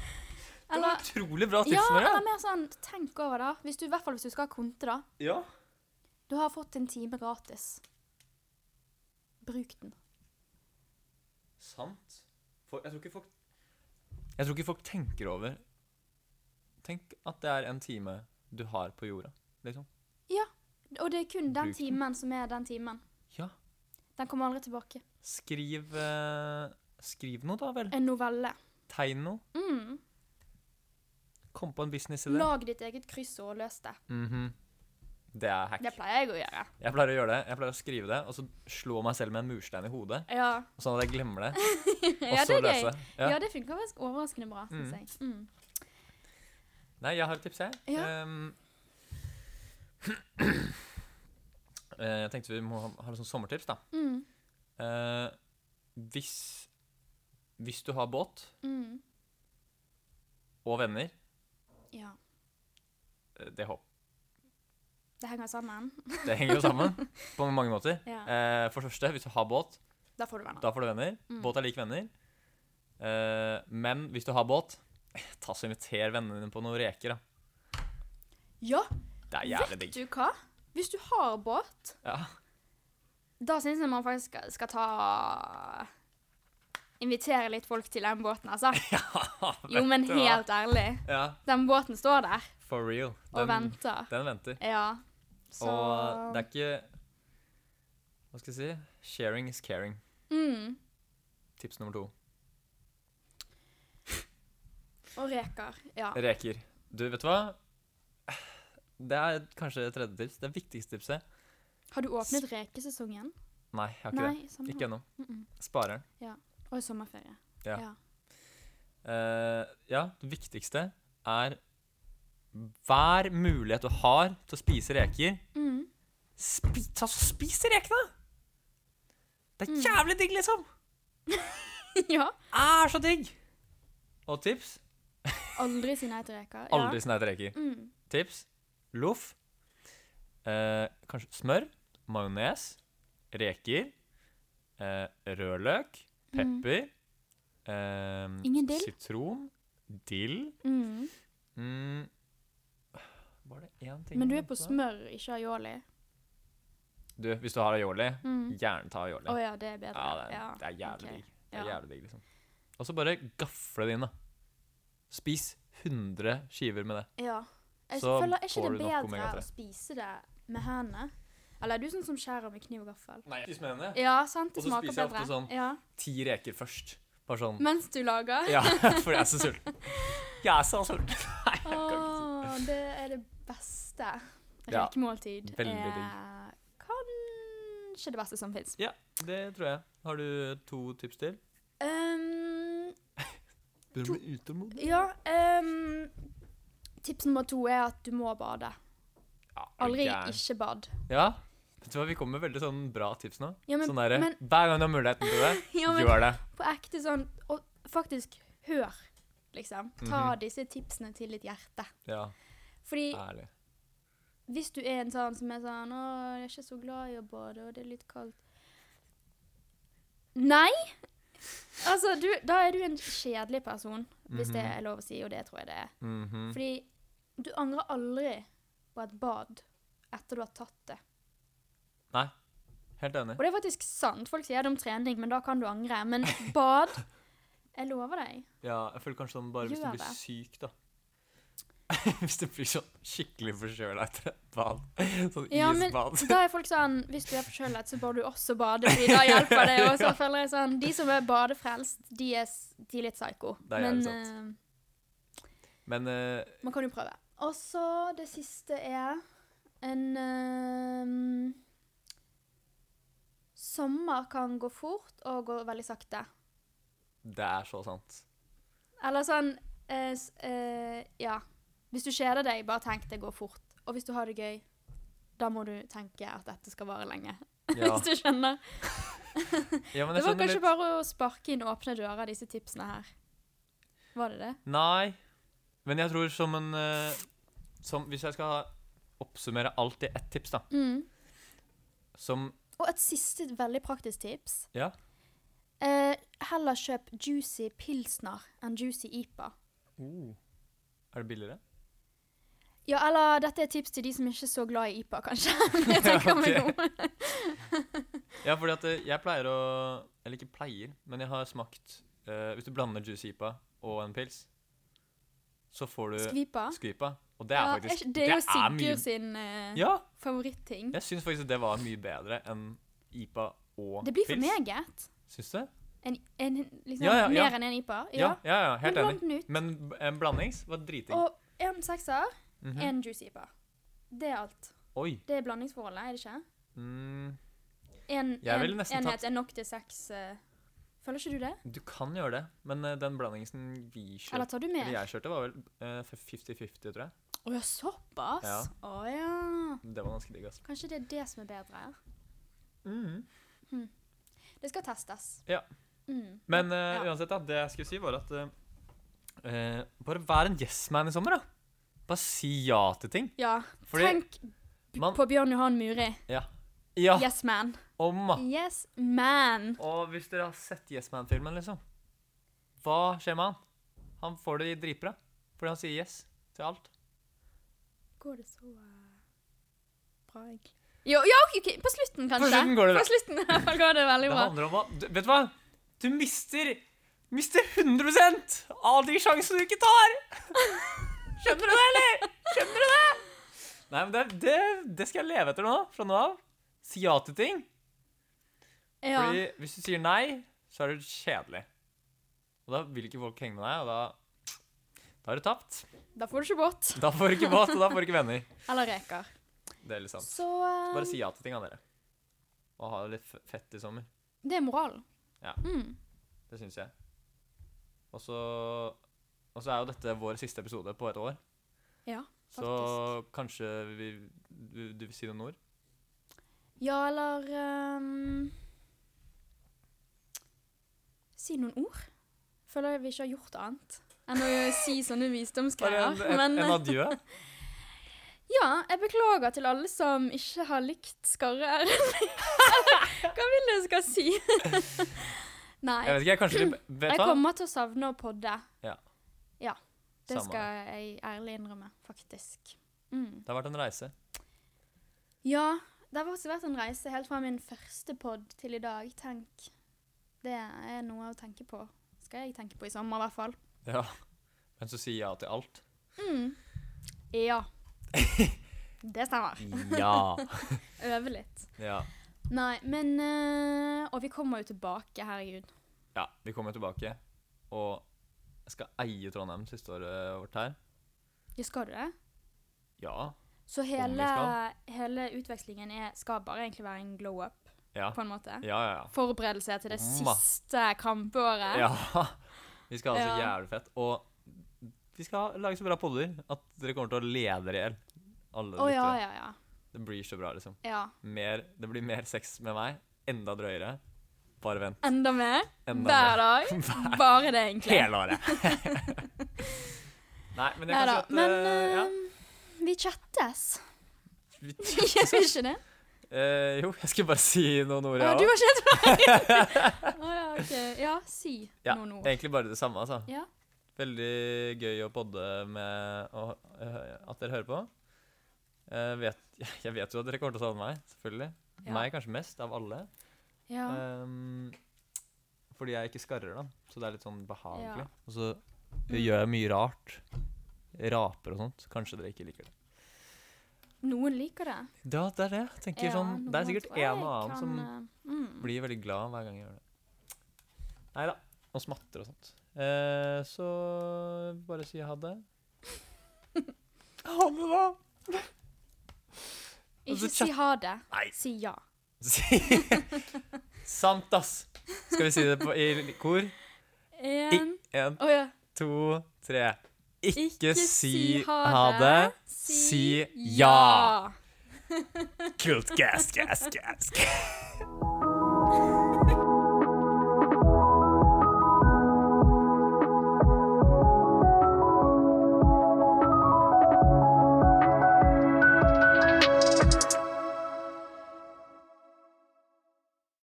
Det var utrolig bra tips,
Ja,
Maria.
eller mer sånn, tenk over det. Hvis du, I hvert fall hvis du skal ha konte, da.
Ja.
Du har fått en time gratis. Bruk den.
Sant. For, jeg, tror ikke folk, jeg tror ikke folk tenker over Tenk at det er en time du har på jorda, liksom.
Og det er kun
Bruk
den
den.
timen som er den timen.
Ja.
Den kommer aldri tilbake.
Skriv eh, Skriv noe, da vel.
En novelle.
Tegn noe.
Mm.
Kom på en businessidé.
Lag ditt eget kryssord og løs det.
Mhm. Det er hack.
Det pleier jeg å gjøre.
Jeg pleier å gjøre det. Jeg pleier å skrive det, og så slå meg selv med en murstein i hodet.
Ja,
Sånn at jeg glemmer det. Og
ja det
så
er gøy.
løse.
Ja,
Ja.
det funker faktisk overraskende bra,
Mm.
syns jeg. Mm.
Nei, jeg har et tips, jeg.
Ja.
Ehm, eh, jeg tenkte vi må ha, ha litt sånn sommertips, da.
Mm.
Eh, hvis, hvis du har båt
Mm.
og venner
Ja.
eh, Det, håp-
Det henger sammen.
det henger jo sammen på mange måter.
Ja.
Eh, for det første, hvis du har båt,
Da får du venner.
da får du venner.
Mm.
Båt er lik venner. Eh, men hvis du har båt, ta så inviter vennene dine på noen reker. da.
Ja,
Det er jævlig
vet
digg.
du hva? Hvis du har båt,
Ja.
da syns jeg man faktisk skal, skal ta Invitere litt folk til den båten, altså. Jo, men
du hva?
helt ærlig.
Ja,
Den båten står der
for real. Den,
og venter.
den venter.
Ja. Så
Og eh, det er ikke Hva skal jeg si? Sharing is caring.
mm.
Tips nummer to.
Og reker. Ja.
Reker. Du, vet du hva? Det er kanskje et tredje tips. Det viktigste tipset.
Har du åpnet rekesesongen?
Nei, jeg har ikke
Nei,
det.
samme
Ikke
her.
ennå.
Mm-mm.
Spareren.
Og i sommerferie.
Ja.
Ja.
Eh, ja, det viktigste er hver mulighet du har til å spise reker,
Mm.
spi ta så spis de rekene! Det
Mm.
er jævlig digg, liksom!
ja.
Er så digg! Og tips?
Aldri si nei til reker.
Aldri si nei til reker.
Ja. Mm.
Tips? Loff. Eh, kanskje smør. Majones. Reker. Eh, rødløk. Pepper. Eh,
Mm. Ingen dill?
Sitron. Dill.
Mm.
Mm. Var det én ting
Men du
jeg
er på
tenkte
smør, ikke aioli.
Du, hvis du har aioli,
Mm.
gjerne ta aioli.
Å ja, det er bedre.
ja, det, er- det er jævlig
ok.
digg. Det er
Ja.
jævlig digg, liksom. Og så bare gafle det inn, da. Spis 100 skiver med det.
Ja. Jeg
Så
føler er ikke
får
det
du nok
bedre
omega-3.
å spise det med hendene? Eller er du sånn som skjærer med kniv og gaffel?
Nei, spis med henne.
Ja, sant?
Og
Det
så
smaker
spiser jeg
bedre.
ofte sånn.
Ja.
Ti reker først. Bare sånn
Mens du lager?
Ja, for jeg er så sulten. Jeg er så sulten. Nei, jeg kan ikke si
Åh, det er det beste.
Ja,
Rekemåltid
veldig
er kanskje det beste som fins.
Ja, det tror jeg. Har du to tips til?
Um,
Bør bli utålmodig.
ja um, Tips nummer to er at du må bade. Aldri ikke bad.
Ja. Vet du hva, vi kommer med veldig sånn bra tips nå.
Ja, men-
sånn derre
men-
Hver gang du har muligheten til det,
Ja, men
gjør det.
på ekte sånn Og faktisk hør, liksom. Ta disse tipsene til ditt hjerte.
Ja,
Fordi
ærlig.
hvis du er en sånn som er sånn 'Å, jeg er ikke så glad i å bade, og det er litt kaldt' Nei! Altså, du, da er du en kjedelig person, hvis det er lov å si, og det tror jeg det er.
Mhm.
Fordi du angrer aldri på et bad etter du har tatt det.
Nei, helt enig.
Og det er faktisk sant. Folk sier det om trening, men da kan du angre. Men bad Jeg lover deg.
Ja, jeg føler kanskje sånn bare hvis du
Gjør
blir
det.
syk, da. hvis du blir sånn skikkelig forkjøla etter et bad. Sånn
Ja, men
isbad.
da er folk sånn Hvis du er forkjølet, så bør du også bade, fordi da hjelper det. Og så føler jeg sånn De som er badefrelst, de er, s- de er litt psyko.
Det er jævlig
Men
sant. Men eh,
eh, man kan jo prøve. Og så det siste er en eh, Sommer kan gå fort og gå veldig sakte.
det er så sant.
Eller sånn eh, s- eh, Ja. Hvis du kjeder deg, bare tenk det går fort. Og hvis du har det gøy, da må du tenke at dette skal vare lenge.
Ja,
Hvis du skjønner.
ja men
Det
jeg
var
skjønner
kanskje
litt.
bare å sparke inn åpne dører, disse tipsene her. Var det det?
Nei. Men jeg tror som en eh, som, Hvis jeg skal oppsummere alt i ett tips, da Som
Og et siste veldig praktisk tips.
Ja.
Eh, heller kjøp juicy pilsner enn juicy ipa.
Er det billigere?
Ja, eller dette er et tips til de som ikke er så glad i ipa, kanskje. Men jeg tenker meg
Ok.
om.
Ja, fordi at eh, jeg pleier å Eller ikke pleier, men jeg har smakt eh, Hvis du blander juice ipa og en pils, så får du
Skvipa.
skvipa. Og det er
Ja,
faktisk
ikke- det er jo
er mye-
Sigurd sin eh,
Ja!
favoritting.
Jeg syns faktisk det var mye bedre enn ipa og
Det blir for
pils.
meget.
Syns du?
En, en, liksom,
Ja, ja, ja.
Mer enn en ipa.
Ja, ja, ja, helt
Men bland den
enig.
ut.
Men b- en blandings var driting.
Og en sekser,
Mhm.
en juicy ipa. Det er alt.
Oi.
Det er blandingsforholdet, er det ikke?
Mm.
En,
Jeg ville
en
nesten
enhet er nok til seks eh, Føler ikke du det?
Du kan gjøre det, men eh, den blandingen vi kjørte,
Eller tar du mer?
eller jeg kjørte, var vel eh, 50-50, tror jeg.
Å ja, såpass?
Ja.
Å ja.
Det var ganske digg, altså.
Kanskje det er det som er bedre? Det skal testes.
Ja.
Mm.
Men eh,
Ja.
uansett, da, det jeg skulle si, var at eh, eh, Bare vær en yes-man i sommer, da. Bare si ja til ting.
Ja.
Fordi
Tenk b-
man-
på Bjørn Johan Muri.
Ja. ja Ah.
Yes man.
Og ma
Yes man.
Og hvis dere har sett Yes Man-filmen, liksom, hva skjer med han? Han får det dritbra. Fordi han sier yes til alt.
Går det så eh, bra, egentlig? Jo, ja, ok, ok, på slutten, kanskje.
slutten går det bra.
På slutten i hvert fall går det veldig
Det
bra.
handler om hva du, Vet du hva? Du mister Mister 100 av de sjansene du ikke tar! Skjønner du det, eller? Skjønner du det? Nei, men det, det, det skal jeg leve etter nå, fra nå av. Si ja til ting.
Ja.
Fordi hvis du sier nei, så er du kjedelig. Og da vil ikke folk henge med deg, og da Da er du tapt.
Da får du ikke båt.
Da får du ikke båt, og da får du ikke venner.
Eller reker.
Det er litt sant.
Så eh,
Bare si ja til ting, da, dere. Og ha det litt f- fett i sommer.
det er moralen.
Ja.
Mm.
Det syns jeg. Og så og så er jo dette vår siste episode på et år,
Ja, faktisk.
så kanskje vi, du, du vil si noen ord?
Ja, eller ehm, Si noen ord. Føler jeg vi ikke har gjort annet enn å si sånne
Bare
visdomsgreier.
en, en,
Men
en
eh,
adjø?
ja, jeg beklager til alle som ikke har likt Skarre R. Hva vil jeg skal si? Nei.
Jeg vet ikke, jeg kanskje de, Vet
Jeg
du hva?
kommer til å savne å podde.
Ja.
Ja, Det
Samme her.
skal jeg ærlig innrømme, faktisk. Mm.
Det har vært en reise.
Ja, det har faktisk vært en reise helt fra min første pod til i dag. Tenk. Det er noe å tenke på. skal jeg tenke på i sommer, i hvert fall.
Ja. Men så sier jeg ja til alt.
Mm. Ja. Det stemmer.
Ja.
Øve litt.
ja.
Nei, men eh, Og vi kommer jo tilbake, herregud.
Ja, vi kommer tilbake. Og jeg skal eie Trondheim siste året eh, vårt her.
Ja, skal du det?
Ja.
Så
vi
hele,
skal.
hele utvekslingen er, skal bare egentlig være en glow up,
Ja,
på en måte?
ja, ja. ja.
Forberedelse til det
Ma-
siste kampåret?
ja. Vi skal ha det så
Ja.
jævlig fett. Og vi skal lage så bra podder at dere kommer til å lede dere i hjel. Alle
Å ja,
lyttere.
ja, ja.
Det blir så bra, liksom.
ja.
Mer, det blir mer sex med meg. Enda drøyere. Bare vent.
Enda mer?
Enda
Hver dag? Bare det, egentlig.
Hele året.
Nei, men jeg
Nei
kan
da.
si at
Men
eh, ja.
eh, vi chattes.
Vi-
Gjør vi ikke det?
Eh, jo, jeg skulle bare si noen ord,
Å,
jeg
du
òg.
har ikke helt meg! Å ja, ok. Ja, si
Ja,
noen ord.
egentlig bare det samme, altså.
Ja.
Veldig gøy å podde med og, eh, at dere hører på. Jeg vet, jeg vet jo at dere kommer til å savne meg, selvfølgelig.
Ja.
Meg kanskje mest av alle.
Ja.
Ehm, fordi jeg ikke skarrer, da. Så det er litt sånn behagelig.
Ja.
Og så gjør jeg mye rart. Raper og sånt. Kanskje dere ikke liker det.
Noen liker det.
Ja, det er det. jeg Tenker
Ja,
sånn, det er
noen
sikkert
tror jeg
en og annen
kan,
som
eh, mm.
blir veldig glad hver gang jeg gjør det. Nei da. Og smatter og sånt. Eh, så bare si ha det. Ha det, da! Og så
Ikke si ha det.
Nei.
Si ja.
Si. Sant, ass. Skal vi si det på, i kor?
En
Én,
Å ja.
to, tre. Ikke, si ha, det. Si ja.
Kult. Gas, gas, gas.